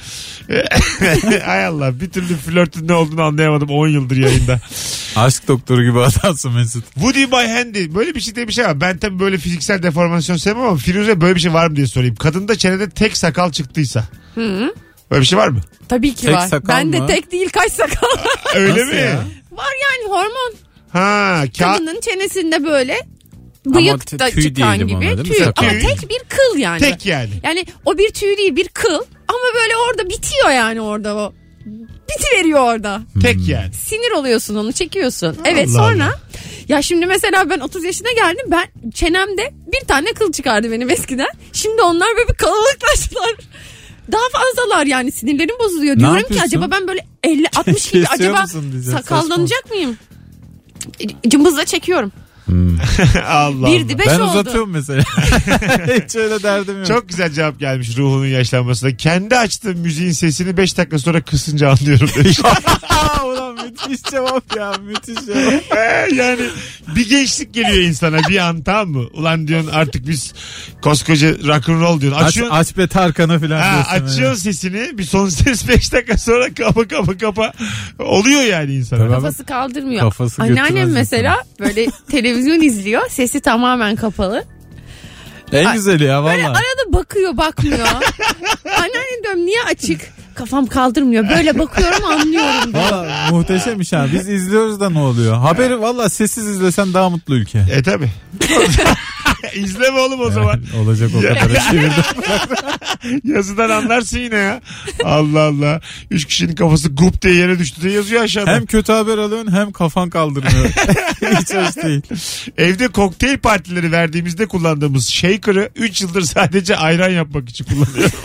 S2: Hay Allah bir türlü flörtün ne olduğunu anlayamadım 10 yıldır yayında.
S3: Aşk doktoru gibi adamsın Mesut.
S2: Woody by Handy böyle bir şey diye bir şey var. Ben tabii böyle fiziksel deformasyon sevmem ama Firuze böyle bir şey var mı diye sorayım. Kadında çenede tek sakal çıktıysa. Böyle bir şey var mı?
S4: Tabii ki
S3: Tek
S4: var.
S3: sakal
S4: Ben de
S3: mı?
S4: tek değil kaç sakal.
S2: Öyle
S3: Nasıl
S2: mi?
S3: ya?
S4: var yani hormon.
S2: Ha, ka-
S4: Kadının çenesinde böyle
S3: Ama
S4: bıyık da
S3: tüy
S4: çıkan
S3: diyelim
S4: gibi.
S3: ona, değil mi?
S4: tüy.
S3: Sakal.
S4: Ama
S2: Tüy.
S4: tek bir kıl yani.
S2: tek yani.
S4: Yani o bir tüy değil bir kıl. Ama böyle orada bitiyor yani orada o. Bitiveriyor orada.
S2: Tek yani.
S4: Sinir oluyorsun onu çekiyorsun. Evet
S2: Allah
S4: sonra
S2: Allah.
S4: ya şimdi mesela ben 30 yaşına geldim ben çenemde bir tane kıl çıkardı benim eskiden. Şimdi onlar böyle bir kalabalıklaştılar. Daha fazlalar yani sinirlerim bozuluyor. Diyorum ki
S3: yapıyorsun?
S4: acaba ben böyle 50 60 gibi
S3: Kesiyor
S4: acaba
S3: musun diyeceğim,
S4: sakallanacak mıyım? Cımbızla çekiyorum.
S2: Allah
S4: Bir
S2: Allah.
S4: dibe
S3: ben
S4: oldu.
S3: uzatıyorum mesela. Hiç öyle derdim yok.
S2: Çok güzel cevap gelmiş ruhunun yaşlanmasına. Kendi açtığım müziğin sesini 5 dakika sonra kısınca anlıyorum demiş.
S3: Aa, ulan müthiş cevap ya müthiş ya.
S2: Ee, yani bir gençlik geliyor insana bir an tamam mı? Ulan diyorsun artık biz koskoca rock'n'roll diyorsun.
S3: Aç,
S2: Açıyorsun,
S3: aç be Tarkan'ı falan
S2: ha,
S3: diyorsun.
S2: açıyorsun sesini bir son ses 5 dakika sonra kapa kapa kapa oluyor yani insana.
S3: Tabii.
S4: Kafası kaldırmıyor.
S3: Kafası
S4: Anneannem
S3: götürmez
S4: mesela böyle televizyon izliyor. Sesi tamamen kapalı.
S3: En güzeli ya
S4: Böyle
S3: valla.
S4: arada bakıyor bakmıyor. Anneannem diyorum niye açık? Kafam kaldırmıyor. Böyle bakıyorum anlıyorum.
S3: Valla muhteşem iş abi. Biz izliyoruz da ne oluyor? Haberi valla sessiz izlesen daha mutlu ülke.
S2: E tabi. İzleme oğlum o zaman.
S3: Yani olacak o kadar. Çevirdim.
S2: Yazıdan anlarsın yine ya. Allah Allah. Üç kişinin kafası gup diye yere düştü diye yazıyor aşağıda.
S3: hem kötü haber alıyorsun hem kafan kaldırmıyor. Hiç hoş değil.
S2: Evde kokteyl partileri verdiğimizde kullandığımız shaker'ı 3 yıldır sadece ayran yapmak için kullanıyorum.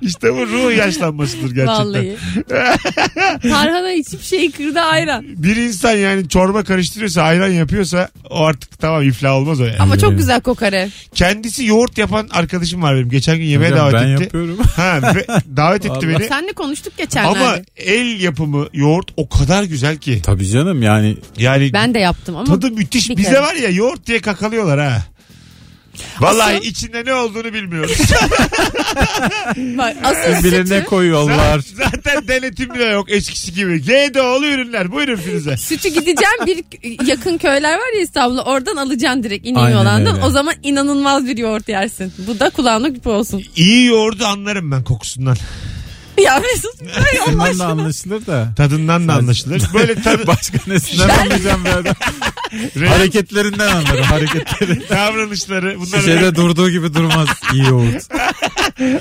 S2: işte bu ruh yaşlanmasıdır gerçekten.
S4: Vallahi. Tarhana içip şey kırdı ayran.
S3: Ee,
S2: Bir insan yani çorba karıştırıyorsa ayran yapıyorsa o artık tamam iflah olmaz o yani.
S4: Ama çok güzel kokar ev.
S2: Kendisi yoğurt yapan arkadaşım var benim. Geçen gün yemeğe
S3: Hocam,
S2: davet
S3: ben
S2: etti.
S3: yapıyorum.
S2: Ha, ve davet etti
S3: Vallahi.
S2: beni.
S4: Senle konuştuk geçenlerde.
S2: Ama el yapımı yoğurt o kadar güzel ki.
S3: Tabii canım yani
S2: Yani
S4: ben de yaptım ama
S2: tadı müthiş.
S4: Bir
S2: Bize
S4: kere.
S2: var ya yoğurt diye kakalıyorlar ha. Vallahi
S4: Asıl-
S2: içinde ne olduğunu bilmiyoruz.
S4: bak, asıl
S3: bilir ne
S4: sütü,
S3: koyuyorlar.
S2: Zaten denetim bile yok eskisi gibi. GDO'lu ürünler. Buyurun Firuze.
S4: sütü gideceğim bir yakın köyler var ya İstanbul'da oradan alacaksın direkt İnönü
S3: Aynen
S4: olandan.
S3: öyle.
S4: O zaman inanılmaz bir yoğurt yersin. Bu da kulağına küpe olsun.
S2: İyi yoğurdu anlarım ben kokusundan.
S4: ya Mesut böyle Allah
S3: Bundan da
S4: aşkına.
S3: anlaşılır da.
S2: Tadından da anlaşılır. Böyle tadı,
S3: Başka nesinden anlayacağım ben.
S2: renk,
S3: Hareketlerinden anlarım hareketleri.
S2: davranışları. Bunlar
S3: Şişede durduğu gibi durmaz. İyi yoğurt.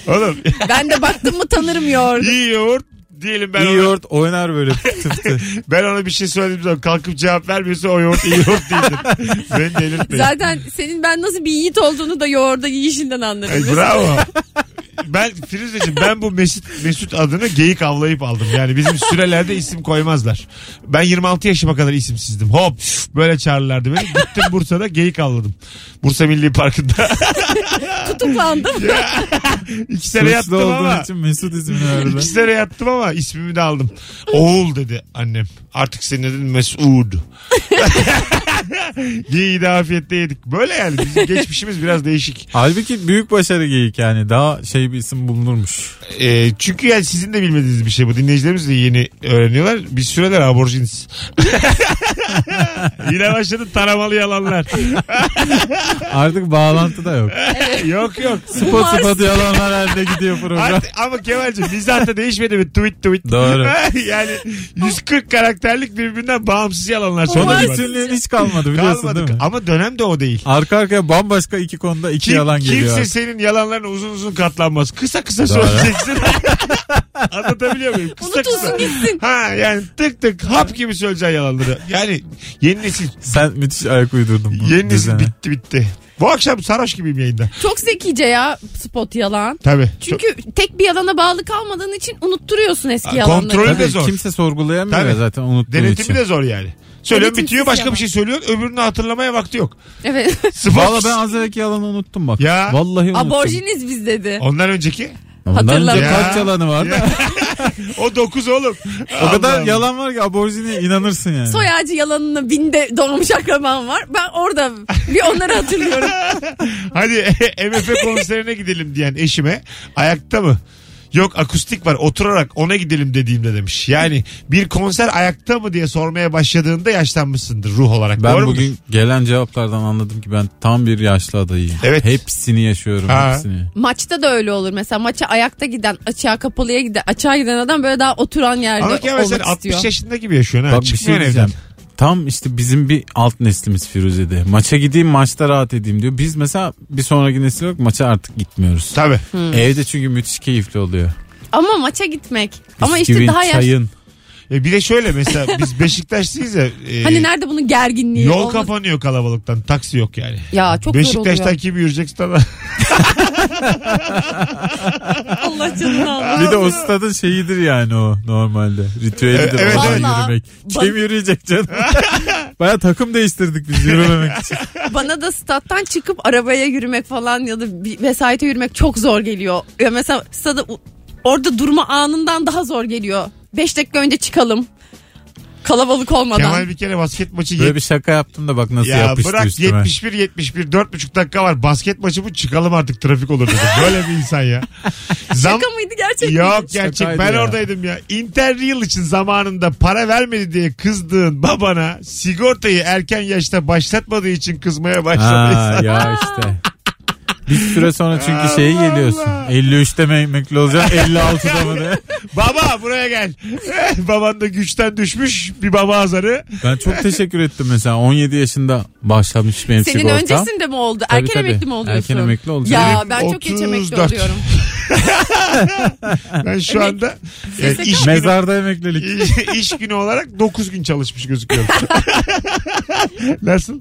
S2: Oğlum
S4: Ben de baktım mı tanırım yoğurdu.
S2: iyi yoğurt diyelim ben
S3: İyi
S2: ona,
S3: yoğurt oynar böyle tıftı.
S2: ben ona bir şey söylediğim zaman kalkıp cevap vermiyorsa o yoğurt iyi yoğurt değildir. Beni delirtmeyin.
S4: Zaten senin ben nasıl bir yiğit olduğunu da yoğurda yiyişinden anlarım.
S2: Ay, bravo. Ben Firuzeciğim ben bu Mesut, Mesut adını geyik avlayıp aldım. Yani bizim sürelerde isim koymazlar. Ben 26 yaşıma kadar isimsizdim. Hop böyle çağırırlardı beni. Gittim Bursa'da geyik avladım. Bursa Milli Parkı'nda.
S4: Tutuklandım.
S2: İki sene
S3: Suçlu
S2: yattım
S3: olduğum
S2: ama.
S3: için Mesut ismini verdiler.
S2: İki sene yattım ama ismimi de aldım. Oğul dedi annem. Artık senin adın Mesud. Geyiği de afiyetle yedik. Böyle yani bizim geçmişimiz biraz değişik.
S3: Halbuki büyük başarı geyik yani. Daha şey bir isim bulunurmuş.
S2: E, çünkü yani sizin de bilmediğiniz bir şey bu. Dinleyicilerimiz de yeni öğreniyorlar. Bir süreler aborjiniz. Yine başladı taramalı yalanlar.
S3: Artık bağlantı da yok.
S2: yok yok.
S3: Sıpa sıpa yalanlar halinde gidiyor program.
S2: Artık- ama Kemal'cim mizah da değişmedi mi? Tweet tweet.
S3: Doğru.
S2: yani 140 karakterlik birbirinden bağımsız yalanlar.
S3: Sonra
S2: Sonra bir bak.
S3: bütünlüğün hiç kalmadı biliyorsun
S2: Kalmadık.
S3: değil mi?
S2: Ama dönem de o değil.
S3: Arka arkaya bambaşka iki konuda iki
S2: Kim-
S3: yalan
S2: kimse
S3: geliyor.
S2: senin yalanlarına uzun uzun katlanmaz. Kısa kısa
S3: Doğru.
S2: söyleyeceksin. Anlatabiliyor muyum? Kısa kısa.
S4: Unutulsun gitsin.
S2: Ha yani tık tık hap gibi söyleyeceksin yalanları. Yani yeni nesil
S3: Sen müthiş ayak uydurdun bu
S2: Yeni nesil
S3: düzene.
S2: bitti bitti. Bu akşam sarhoş gibiyim yayında.
S4: Çok zekice ya spot yalan.
S2: Tabii. Çok-
S4: Çünkü tek bir yalana bağlı kalmadığın için unutturuyorsun eski yalanları.
S2: kontrol- Öyle de zor.
S3: Tabii E, kimse sorgulayamıyor
S2: Tabii.
S3: ya zaten unuttuğu için.
S2: Denetimi de zor yani. Söylüyorsun
S4: Denetimsiz
S2: bitiyor başka
S4: yalan.
S2: bir şey söylüyorsun öbürünü hatırlamaya vakti yok.
S4: Evet.
S2: Spor-
S3: Valla ben az evvelki yalanı unuttum bak.
S2: Ya.
S3: Vallahi unuttum.
S4: Aborjiniz biz dedi.
S2: Ondan önceki
S3: Ondan önce
S4: Hatırlamıyorum.
S3: kaç yalanı var da.
S2: Ya. o dokuz oğlum.
S3: O kadar
S2: Allah'ım.
S3: yalan var ki aborjine inanırsın yani.
S4: Soy ağacı yalanına binde doğmuş akraban var. Ben orada bir onları hatırlıyorum.
S2: Hadi MF konserine gidelim diyen eşime ayakta mı? Yok akustik var oturarak ona gidelim dediğimde demiş. Yani bir konser ayakta mı diye sormaya başladığında yaşlanmışsındır ruh olarak.
S3: Ben
S2: Doğru mudur?
S3: bugün gelen cevaplardan anladım ki ben tam bir yaşlı adayım.
S2: Evet.
S3: Hepsini yaşıyorum
S2: Ha.
S3: hepsini.
S4: Maçta da öyle olur. Mesela maça ayakta giden, açığa kapalıya giden, açığa giden adam böyle daha oturan yerde
S2: Ama Kemal sen
S4: olmak
S2: 60
S4: istiyor.
S2: yaşında gibi yaşıyorsun ha.
S3: Bak bir
S2: Çıkmıyorsun
S3: şey
S2: evden.
S3: diyeceğim. Tam işte bizim bir alt neslimiz Firuze'de. Maça gideyim maçta rahat edeyim diyor. Biz mesela bir sonraki nesil yok maça artık gitmiyoruz.
S2: Tabii.
S4: Hmm.
S3: Evde çünkü müthiş keyifli oluyor.
S4: Ama maça gitmek. Ama işte
S3: Bisküvin,
S4: daha yaşlı.
S3: çayın.
S2: E bir de şöyle mesela biz Beşiktaşlıyız ya. e,
S4: Hani nerede bunun gerginliği?
S2: yol
S4: olması-
S2: kapanıyor kalabalıktan. Taksi yok yani.
S4: Ya çok zor oluyor.
S2: Beşiktaş'tan kim yürüyecek stada?
S4: Allah canını almasın.
S3: Bir de o stadın şeyidir yani o normalde. Ritüelidir
S2: E, Evet,
S3: oradan
S4: evet.
S3: yürümek.
S4: Vallahi.
S3: Kim yürüyecek canım? Baya takım değiştirdik biz yürümemek için.
S4: Bana da stat'tan çıkıp arabaya yürümek falan ya da bir vesayete yürümek çok zor geliyor. Ya mesela stada orada durma anından daha zor geliyor. 5 dakika önce çıkalım. Kalabalık olmadan.
S2: Kemal bir kere basket maçı
S3: Böyle
S2: yet-
S3: bir şaka yaptım da bak nasıl
S2: ya
S3: yapıştı
S2: bırak
S3: üstüme.
S2: 71 71 4,5 dakika var. Basket maçı bu çıkalım artık trafik olur dedi. Böyle bir insan ya. Zam
S4: Şaka mıydı gerçekten?
S2: Yok gerçek
S3: Şakaydı
S2: ben
S3: ya.
S2: oradaydım ya. Interreal için zamanında para vermedi diye kızdığın babana sigortayı erken yaşta başlatmadığı için kızmaya başladıysan.
S3: Ha, ya işte. Bir süre sonra çünkü şeye
S2: Allah
S3: geliyorsun.
S2: Allah.
S3: 53'te mi emekli olacaksın 56'da mı ne?
S2: Baba buraya gel. Baban da güçten düşmüş bir baba azarı.
S3: Ben çok teşekkür ettim mesela 17 yaşında başlamış benim
S4: Senin
S3: sigortam.
S4: öncesinde mi oldu?
S3: Tabii,
S4: Erken
S3: tabii.
S4: emekli mi oluyorsun?
S3: Erken emekli olacağım.
S4: Ya
S2: Benim
S4: ben çok geç emekli
S2: 34.
S4: oluyorum.
S2: Ben şu anda e, iş,
S3: Mezarda emeklilik.
S2: iş günü olarak 9 gün çalışmış gözüküyorum. Nasıl?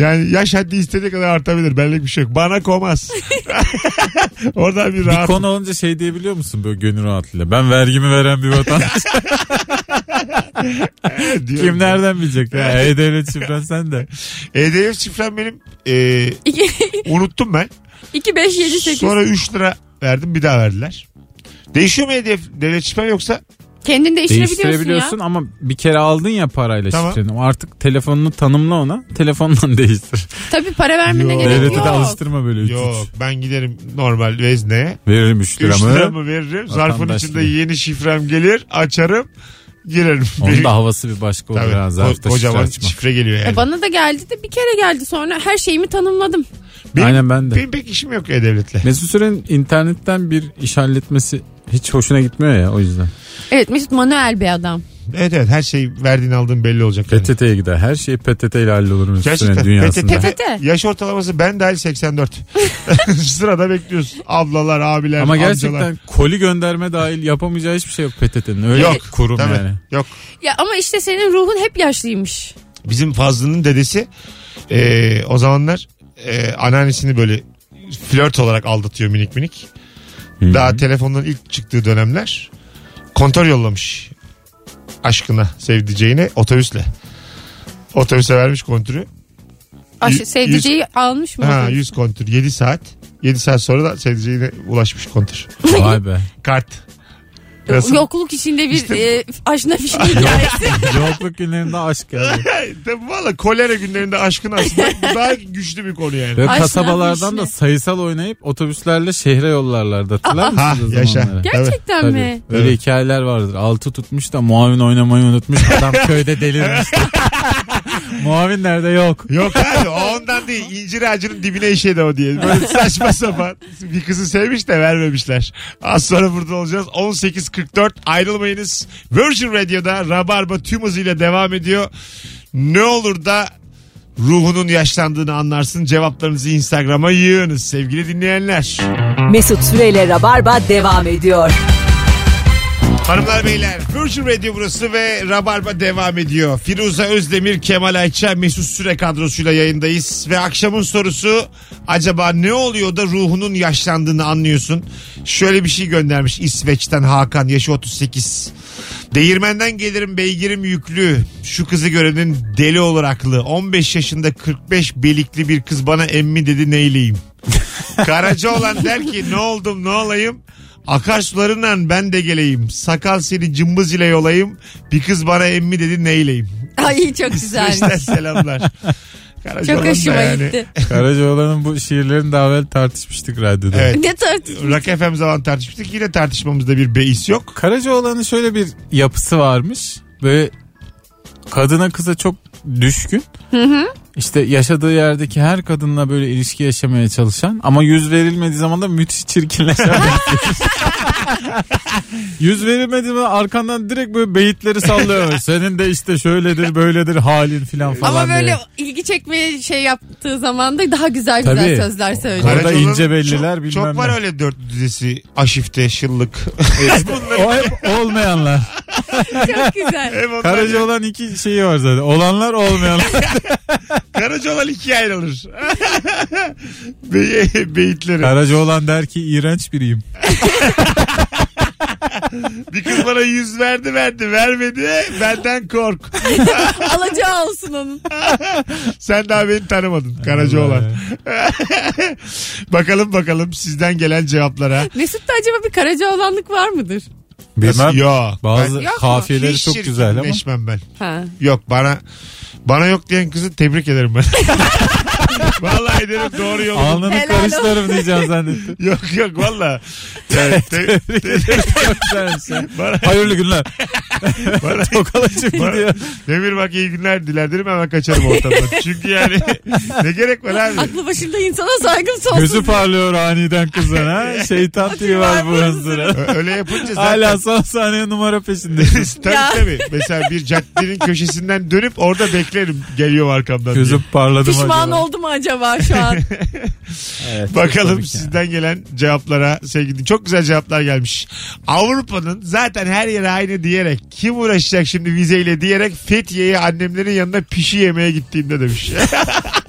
S2: yani yaş haddi istediği kadar artabilir. Benlik bir şey yok. Bana komaz. Oradan bir
S3: Bir
S2: rahat.
S3: konu olunca şey diyebiliyor musun böyle gönül rahatlığıyla? Ben vergimi veren bir vatandaş.
S2: diyorum.
S3: Kim nereden bilecek? ya? E-Devlet şifren sen de.
S2: EDF şifrem benim. e, unuttum ben.
S4: 2 5 7 8.
S2: Sonra 3 lira verdim bir daha verdiler. Değişiyor mu EDF devlet şifrem yoksa?
S4: Kendin değiştirebiliyorsun
S3: Değiştirebiliyorsun
S4: ya.
S3: ama bir kere aldın ya parayla
S2: Tamam.
S3: şifreni. Artık telefonunu tanımla ona. Telefondan değiştir.
S4: Tabii para vermene
S2: Yok.
S4: gerek
S3: Devlete
S4: yok.
S3: de alıştırma böyle. üç
S2: Yok
S3: üç.
S2: ben giderim normal vezneye.
S3: Veririm 3
S2: 3
S3: liramı.
S2: lira mı veririm? Zarfın
S3: Vatandaş
S2: içinde
S3: gibi.
S2: yeni şifrem gelir. Açarım. Girerim.
S3: Onun da havası bir başka olur
S2: Tabii,
S3: ha. Zarfta
S2: ko- kocaman
S3: kocaman
S2: şifre, geliyor yani.
S4: E bana da geldi de bir kere geldi sonra her şeyimi tanımladım.
S2: Benim-
S3: Aynen ben de.
S2: Benim pek işim yok E-Devlet'le.
S3: Mesut Süren'in internetten bir iş halletmesi hiç hoşuna gitmiyor ya o yüzden.
S4: Evet Mesut manuel bir adam.
S2: Evet evet her şey verdiğin aldığın belli olacak. yani.
S3: PTT'ye gider. Her şey PTT ile hallolur Mesut
S2: Gerçekten
S3: Süren'in dünyasında.
S2: PTT,
S4: PTT.
S2: yaş ortalaması ben dahil 84. Sırada bekliyoruz. Ablalar, abiler,
S3: Ama gerçekten
S2: amcalar.
S3: koli gönderme dahil yapamayacağı hiçbir şey yok PTT'nin. Öyle
S2: Yok.
S3: bir kurum
S2: Tabii,
S3: yani.
S2: Yok.
S4: Ya ama işte senin ruhun hep yaşlıymış.
S2: Bizim Fazlı'nın dedesi e, o zamanlar e, anneannesini böyle flört olarak aldatıyor minik minik. Daha telefondan ilk çıktığı dönemler kontör yollamış aşkına sevdiceğine otobüsle. Otobüse vermiş kontürü.
S4: Aş-
S2: Yüz-
S4: sevdiceyi almış mı?
S2: Ha 100 kontür 7 saat. 7 saat sonra da sevdiceğine ulaşmış kontür.
S3: Vay be.
S2: Kart. Nasıl?
S4: Yokluk içinde bir
S2: İşte-
S4: e, aşna fişi hikayesi.
S3: Yokluk günlerinde aşk yani.
S2: Tabii Valla kolera günlerinde aşkın aslında bu daha güçlü bir konu yani.
S3: Ve
S4: Aşkla
S3: kasabalardan da
S4: işle.
S3: sayısal oynayıp otobüslerle şehre yollarlardı. Hatırlar
S2: Ha
S3: mısınız o zamanları?
S2: yaşa. Tabii.
S4: Gerçekten
S3: Tabii.
S4: mi?
S3: Öyle
S2: Evet.
S3: hikayeler vardır. Altı tutmuş da muavin oynamayı unutmuş. Adam köyde delirmiş. muavin nerede yok.
S2: Yok abi o ondan değil. İncir ağacının dibine işedi o diye. Böyle saçma sapan. Bir kızı sevmiş de vermemişler. Az sonra burada olacağız. 18.44 ayrılmayınız. Virgin Radio'da Rabarba tüm hızıyla devam ediyor. Ne olur da ruhunun yaşlandığını anlarsın. Cevaplarınızı Instagram'a yığınız sevgili dinleyenler.
S1: Mesut Süreyle Rabarba devam ediyor.
S2: Hanımlar beyler Virgin Radio burası ve Rabarba devam ediyor. Firuze Özdemir, Kemal Ayça, Mesut Süre kadrosuyla yayındayız. Ve akşamın sorusu acaba ne oluyor da ruhunun yaşlandığını anlıyorsun? Şöyle bir şey göndermiş İsveç'ten Hakan yaşı 38. Değirmenden gelirim beygirim yüklü. Şu kızı görenin deli olur aklı. 15 yaşında 45 belikli bir kız bana emmi dedi neyleyim. Karaca olan der ki ne oldum ne olayım. Akarsularından ben de geleyim. Sakal seni cımbız ile yolayım. Bir kız bana emmi dedi neyleyim.
S4: Ay çok güzelmiş.
S2: İşte selamlar. Karaca
S4: Çok
S2: olan da
S4: hoşuma
S2: yani.
S4: gitti.
S3: Karacaoğlan'ın bu şiirlerini daha evvel tartışmıştık radyoda.
S2: Evet.
S4: Ne tartış?
S2: Rock FM zaman tartışmıştık. Yine tartışmamızda bir beis yok.
S3: Karacaoğlan'ın şöyle bir yapısı varmış. Böyle kadına kıza çok düşkün. İşte yaşadığı yerdeki her kadınla böyle ilişki yaşamaya çalışan ama yüz verilmediği zaman da müthiş çirkinleşen. bir kişi. yüz verilmediği zaman arkandan direkt böyle beyitleri sallıyor. Senin de işte şöyledir böyledir halin filan falan
S4: Ama böyle
S3: diye.
S4: ilgi çekmeye şey yaptığı zaman da daha güzel güzel
S3: Tabii.
S4: sözler söylüyor.
S3: Orada
S2: Karacaoğlan'ın
S3: ince belliler
S2: çok,
S3: bilmem
S2: Çok var
S3: ne.
S2: öyle dört dizisi. Aşifte, Şıllık.
S3: O hep olmayanlar.
S4: çok güzel.
S2: Hem onlar-
S3: Karacaoğlan iki şeyi var zaten. Olanlar olmayanlar.
S2: Karacaoğlan ikiye ayrılır. Be- beyitleri.
S3: Karacaoğlan der ki iğrenç biriyim.
S2: Bir kız bana yüz verdi verdi vermedi benden kork.
S4: Alacağı olsun onun.
S2: Sen daha beni tanımadın Karacaoğlan. bakalım bakalım sizden gelen cevaplara.
S4: Mesut'ta acaba bir karacaoğlanlık var mıdır?
S3: Bilmem.
S2: Yok.
S3: Bazı
S4: Yok mu?
S2: Ben
S3: kafiyeleri
S2: hiç
S3: çok güzel ama.
S2: çirkinleşmem ben.
S4: Ha.
S2: Yok bana bana yok diyen kızı tebrik ederim ben. Vallahi ederim doğru yolu.
S3: Alnını
S4: Helal
S3: karıştırırım diyeceğim zannettim.
S2: Yok yok valla. Yani te-
S3: Çok güzelmiş ya.
S2: bana,
S3: Hayırlı günler.
S2: bana,
S3: Tokalaşıp
S2: Bana-
S3: gidiyor.
S2: Demir bak iyi günler diler derim hemen kaçarım ortamdan. Çünkü yani ne gerek var abi?
S4: Aklı başında insana saygım sonsuz.
S3: Gözü parlıyor aniden kızın ha. Şeytan tüyü var bu hızıra.
S2: Ö- Öyle yapınca zaten.
S3: Hala son saniye numara peşinde.
S2: tabii
S4: Ya.
S2: tabii. Mesela bir caddenin köşesinden dönüp orada beklerim. Geliyor arkamdan. diye.
S3: Gözüm parladı mı
S4: Pişman
S3: acaba?
S4: oldum acaba şu an?
S3: Evet,
S2: Bakalım
S3: tabii ki.
S2: sizden gelen cevaplara sevgili çok güzel cevaplar gelmiş. Avrupa'nın zaten her yere aynı diyerek kim uğraşacak şimdi vizeyle diyerek Fethiye'ye annemlerin yanına pişi yemeye gittiğimde demiş.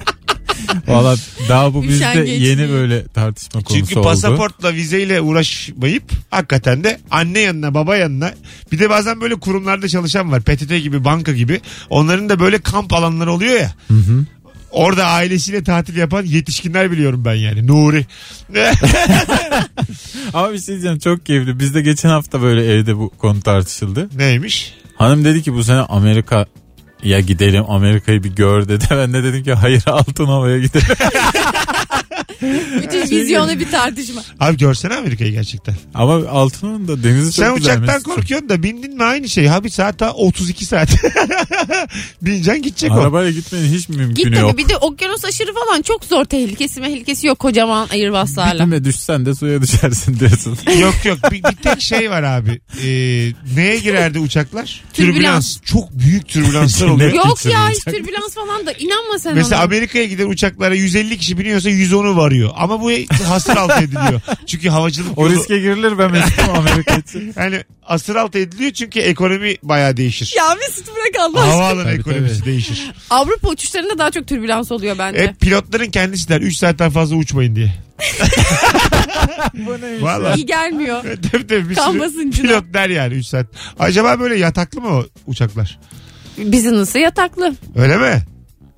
S3: Valla daha bu bizde
S4: Üşengeç
S3: yeni
S4: değil.
S3: böyle tartışma konusu
S2: Çünkü
S3: oldu.
S2: pasaportla vizeyle uğraşmayıp hakikaten de anne yanına baba yanına bir de bazen böyle kurumlarda çalışan var PTT gibi banka gibi onların da böyle kamp alanları oluyor ya. Orada ailesiyle tatil yapan yetişkinler biliyorum ben yani. Nuri. Eh,
S3: Ama bir şey diyeceğim çok keyifli. Bizde geçen hafta böyle evde bu konu tartışıldı.
S2: Neymiş?
S3: Hanım dedi ki bu sene Amerika ya gidelim Amerika'yı bir gör dedi. Ben de dedim ki hayır Altınova'ya gidelim.
S4: Bütün vizyonu bir tartışma.
S2: Abi görsene Amerika'yı gerçekten.
S3: Ama Altınova'nın da denizi çok
S2: Sen
S3: güzel.
S2: uçaktan
S3: Mesut'cum.
S2: korkuyorsun da bindin mi aynı şey. Abi saat daha 32 saat. Bineceksin gidecek o.
S3: Arabayla gitmenin hiç
S4: Git
S3: mümkünü
S4: tabii
S3: yok.
S4: bir de okyanus aşırı falan çok zor tehlikesi tehlikesi yok kocaman ayırbaslarla.
S3: Gitme düşsen de suya düşersin diyorsun.
S2: yok yok bir, bir tek şey var abi. Ee, neye girerdi uçaklar?
S4: Türbülans.
S2: Çok büyük türbülanslar oluyor.
S3: Ne?
S4: Yok ya hiç
S3: Uçak.
S4: türbülans falan da inanma sen
S2: Mesela
S4: ona.
S2: Amerika'ya giden uçaklara 150 kişi biniyorsa 110'u varıyor. Ama bu hasır altı ediliyor. Çünkü havacılık
S3: O
S2: yolu-
S3: riske girilir ben Mesut'um Amerika için.
S2: yani hasır altı ediliyor çünkü ekonomi bayağı değişir.
S4: Ya Mesut bırak Allah aşkına.
S2: Havaalanı
S3: Tabii,
S2: ekonomisi
S3: tabii.
S2: değişir.
S4: Avrupa uçuşlarında daha çok türbülans oluyor bence.
S2: Hep pilotların kendisi der 3 saatten fazla uçmayın diye.
S3: Bu neymiş
S2: Valla.
S4: İyi gelmiyor.
S2: tabii tabii bir
S4: Kan
S2: sürü
S4: basıncına.
S2: pilot der yani 3 saat. Acaba böyle yataklı mı o uçaklar?
S4: Business'ı yataklı.
S2: Öyle mi?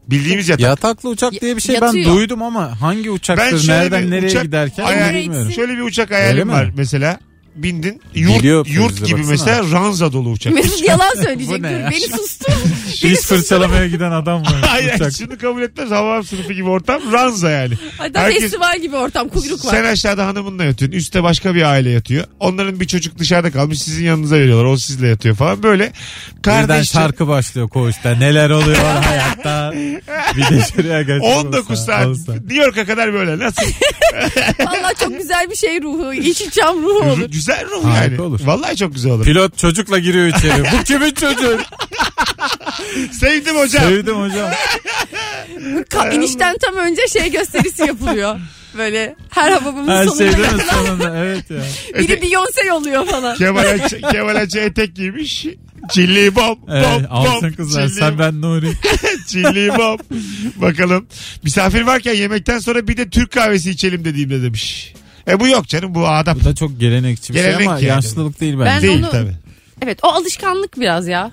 S2: Bildiğimiz yatak.
S3: Yataklı uçak diye bir şey ben
S4: Yatıyor.
S3: duydum ama hangi
S2: Ben
S3: uçaktır
S2: şöyle
S3: nereden
S2: bir
S3: nereye
S2: uçak-
S3: giderken
S2: Ayağı-
S3: onu bilmiyorum.
S2: Şöyle bir uçak
S3: Öyle
S2: hayalim
S3: mi?
S2: var mesela. Bindin. Yurt,
S3: Geliyor
S2: yurt
S3: bize,
S2: gibi
S3: baksana.
S2: mesela ranza dolu uçak.
S4: Mesut yalan söyleyecek.
S3: Bu ne ya?
S4: Dur, beni sustur.
S3: Diş fırçalamaya giden adam var
S2: Hayır
S3: uçak.
S2: şunu kabul etmez. Hava sınıfı gibi ortam ranza yani.
S4: Hatta
S2: Herkes-
S4: festival gibi ortam kuyruk var.
S2: Sen aşağıda hanımınla yatıyorsun. Üste başka bir aile yatıyor. Onların bir çocuk dışarıda kalmış. Sizin yanınıza veriyorlar. O sizle yatıyor falan. Böyle
S3: Birden
S2: kardeş
S3: şarkı başlıyor koğuşta. Neler oluyor hayatta. Bir de şuraya geç.
S2: 19 saat.
S3: Olsa.
S2: New York'a kadar böyle. Nasıl?
S4: Valla çok güzel bir şey ruhu. Yeşilçam ruhu olur.
S2: güzel ruh
S3: Harika
S2: yani.
S3: olur.
S2: Vallahi çok güzel olur.
S3: Pilot çocukla giriyor içeri. Bu kimin çocuğu?
S2: Sevdim hocam.
S3: Sevdim hocam.
S4: Ka- inişten tam önce şey gösterisi yapılıyor. Böyle her havamın
S3: Her
S4: sonunda
S3: şey değil mi sonunda? Evet ya.
S4: biri Beyoncé oluyor falan.
S2: Kemal Ayça, Kemal Ayça etek giymiş. Çilli bom bom
S3: Evet, Ee, alsın
S2: bom.
S3: kızlar.
S2: Çilli
S3: Sen ben Nuri.
S2: Çilli bom. Bakalım. Misafir varken yemekten sonra bir de Türk kahvesi içelim dediğimde demiş. E bu yok canım bu adap.
S3: Bu da çok gelenekçi bir
S2: Gelenek
S3: şey ama
S2: yani.
S3: yaşlılık değil
S4: Ben-
S3: bence.
S2: Değil
S4: onu-
S2: tabii.
S4: Evet o alışkanlık biraz ya.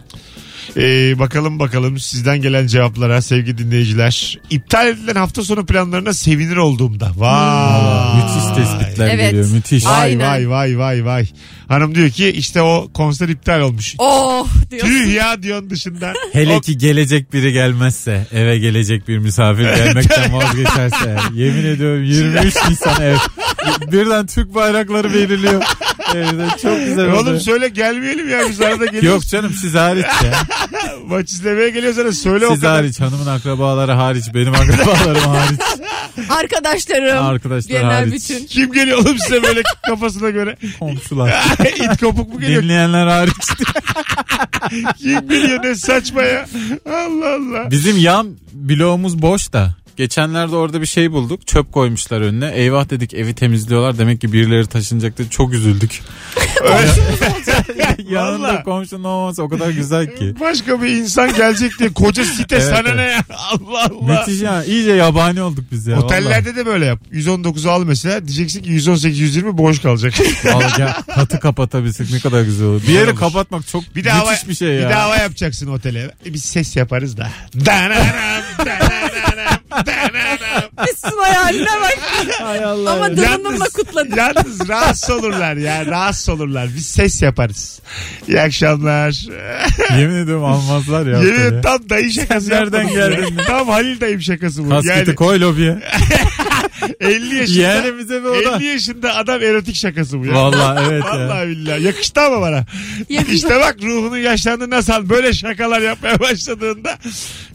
S2: Ee, bakalım bakalım sizden gelen cevaplara sevgili dinleyiciler. İptal edilen hafta sonu planlarına sevinir olduğumda. Vay.
S3: Müthiş tespitler
S4: Evet.
S3: geliyor. Müthiş.
S2: Vay
S4: Aynen.
S2: vay vay vay vay. Hanım diyor ki işte o konser iptal olmuş.
S4: Oh diyor.
S2: Tüh ya diyorsun dışında.
S3: Hele
S2: O-
S3: ki gelecek biri gelmezse, eve gelecek bir misafir gelmekten vazgeçerse, yemin ediyorum 23 Nisan ev. Birden Türk bayrakları veriliyor. Evde çok güzel oldu.
S2: Oğlum söyle gelmeyelim ya biz arada
S3: Yok
S2: geliyoruz.
S3: canım siz hariç ya.
S2: Maç izlemeye geliyorsanız söyle o
S3: Siz
S2: kadar.
S3: hariç, hanımın akrabaları hariç, benim akrabalarım hariç,
S4: Arkadaşlarım.
S3: arkadaşlar
S4: Genel
S3: hariç,
S4: bütün.
S2: Kim geliyor oğlum size böyle kafasına göre?
S3: komşular,
S2: İt kopuk mu geliyor?
S3: dinleyenler hariç.
S2: Kim geliyor ne saçma ya. Allah Allah.
S3: Bizim yan bloğumuz boş da. Geçenlerde orada bir şey bulduk. Çöp koymuşlar önüne. Eyvah dedik evi temizliyorlar. Demek ki birileri taşınacaktı. Çok üzüldük. Yanında
S2: Vallahi.
S3: komşunun olması o kadar güzel ki.
S2: Başka bir insan gelecek diye koca site
S3: Evet,
S2: sana
S3: evet.
S2: ne ya? Allah Allah.
S3: Müthiş ya. İyice yabani olduk biz ya.
S2: Otellerde de böyle yap. 119'u al mesela. Diyeceksin ki 118-120 boş kalacak.
S3: vallahi. Vallahi ya, katı kapatabilsek ne kadar güzel olur. Bir yeri
S2: Olur.
S3: kapatmak çok
S2: Bir de hava,
S3: müthiş bir şey ya.
S2: Bir de hava yapacaksın otele. E, biz ses yaparız da. Dananam, dananam, dananam.
S4: Mesut'un hayaline bak.
S3: Hay Allah.
S4: Ama donanımla kutladı.
S2: Yalnız rahatsız olurlar ya. Rahatsız olurlar. Biz ses yaparız. İyi akşamlar.
S3: Yemin ediyorum almazlar ya.
S2: Yemin
S3: oteli.
S2: ederim tam dayı şakası
S3: Sen nereden
S2: yapmadım ya.
S3: geldin?
S2: Tam Halil dayım şakası bu.
S3: Kasketi
S2: yani
S3: koy lobiye.
S2: 50 yaşında.
S3: Yani bize bir oda.
S2: 50 yaşında adam erotik şakası bu ya.
S3: Vallahi evet ya.
S2: Vallahi billahi. Yakıştı ama bana.
S4: Yakıştı.
S2: İşte bak ruhunun yaşlandığı nasıl böyle şakalar yapmaya başladığında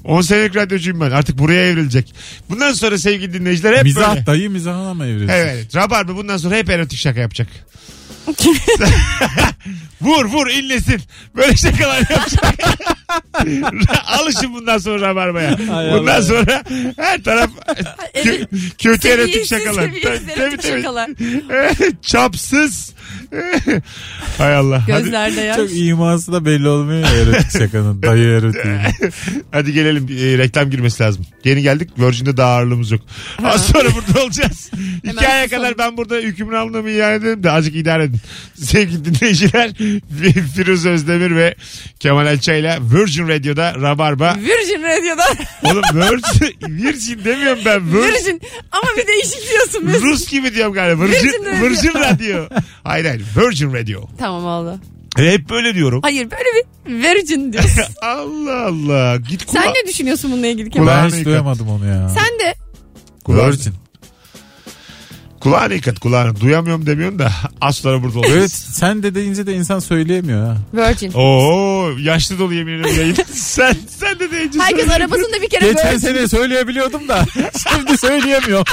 S2: 10 senelik radyocuyum ben. Artık buraya evrilecek. Bundan sonra sevgili dinleyiciler hep
S3: Mizah
S2: böyle.
S3: dayı mizahına mı evrilsin?
S2: Evet. Rabarba bundan sonra hep erotik şaka yapacak. vur vur inlesin. Böyle şakalar yapacak. Alışın bundan sonra rabarbaya.
S3: Ay
S2: bundan
S3: Allah.
S2: sonra her taraf kö- kötü erotik
S4: Seviyesiz,
S2: şakalar.
S4: seviyesiz
S2: Tabii,
S4: erotik
S2: tabii, tabii.
S4: şakalar.
S2: Çapsız. Hay Allah. Hadi,
S4: Gözlerde yaş.
S3: Çok iması da belli olmuyor ya erotik şakanın. Dayı erotiği.
S2: hadi gelelim. E, reklam girmesi lazım. Yeni geldik. Virgin'de daha ağırlığımız yok. Az sonra burada olacağız.
S4: Hemen
S2: İki aya
S4: susalım.
S2: kadar ben burada hükümranlığımı ilan ederim de azıcık idare edin. Sevgili dinleyiciler Firuze Özdemir ve Kemal Elça ile Virgin Radio'da Rabarba.
S4: Virgin Radio'da.
S2: Oğlum Virgin, Virgin demiyorum ben. Virgin.
S4: Virgin. Ama bir değişik diyorsun. Mesut.
S2: Rus gibi diyorum galiba. Virgin,
S4: Virgin Radio.
S2: Virgin Radio. Hayır hayır. Virgin Radio.
S4: Tamam oldu.
S2: E, hep böyle diyorum.
S4: Hayır böyle bir Virgin diyorsun.
S2: Allah Allah. Git kula-
S4: Sen ne düşünüyorsun bununla ilgili Kemal?
S2: Kulağını
S3: Ben hiç
S2: yıkat.
S3: duyamadım onu ya.
S4: Sen de
S2: Kulağını-
S3: Virgin.
S2: Kulağını yıkat kulağını. Duyamıyorum demiyorsun da az sonra burada olacağız.
S3: Evet sen de deyince de insan söyleyemiyor ha.
S4: Virgin.
S2: Oh. Oo yaşlı dolu yemin ederim yayın. sen, sen de deyince
S4: Herkes
S2: söyle.
S4: arabasında bir kere
S3: Geçen
S4: Virgin.
S3: sene söyleyebiliyordum da şimdi söyleyemiyorum.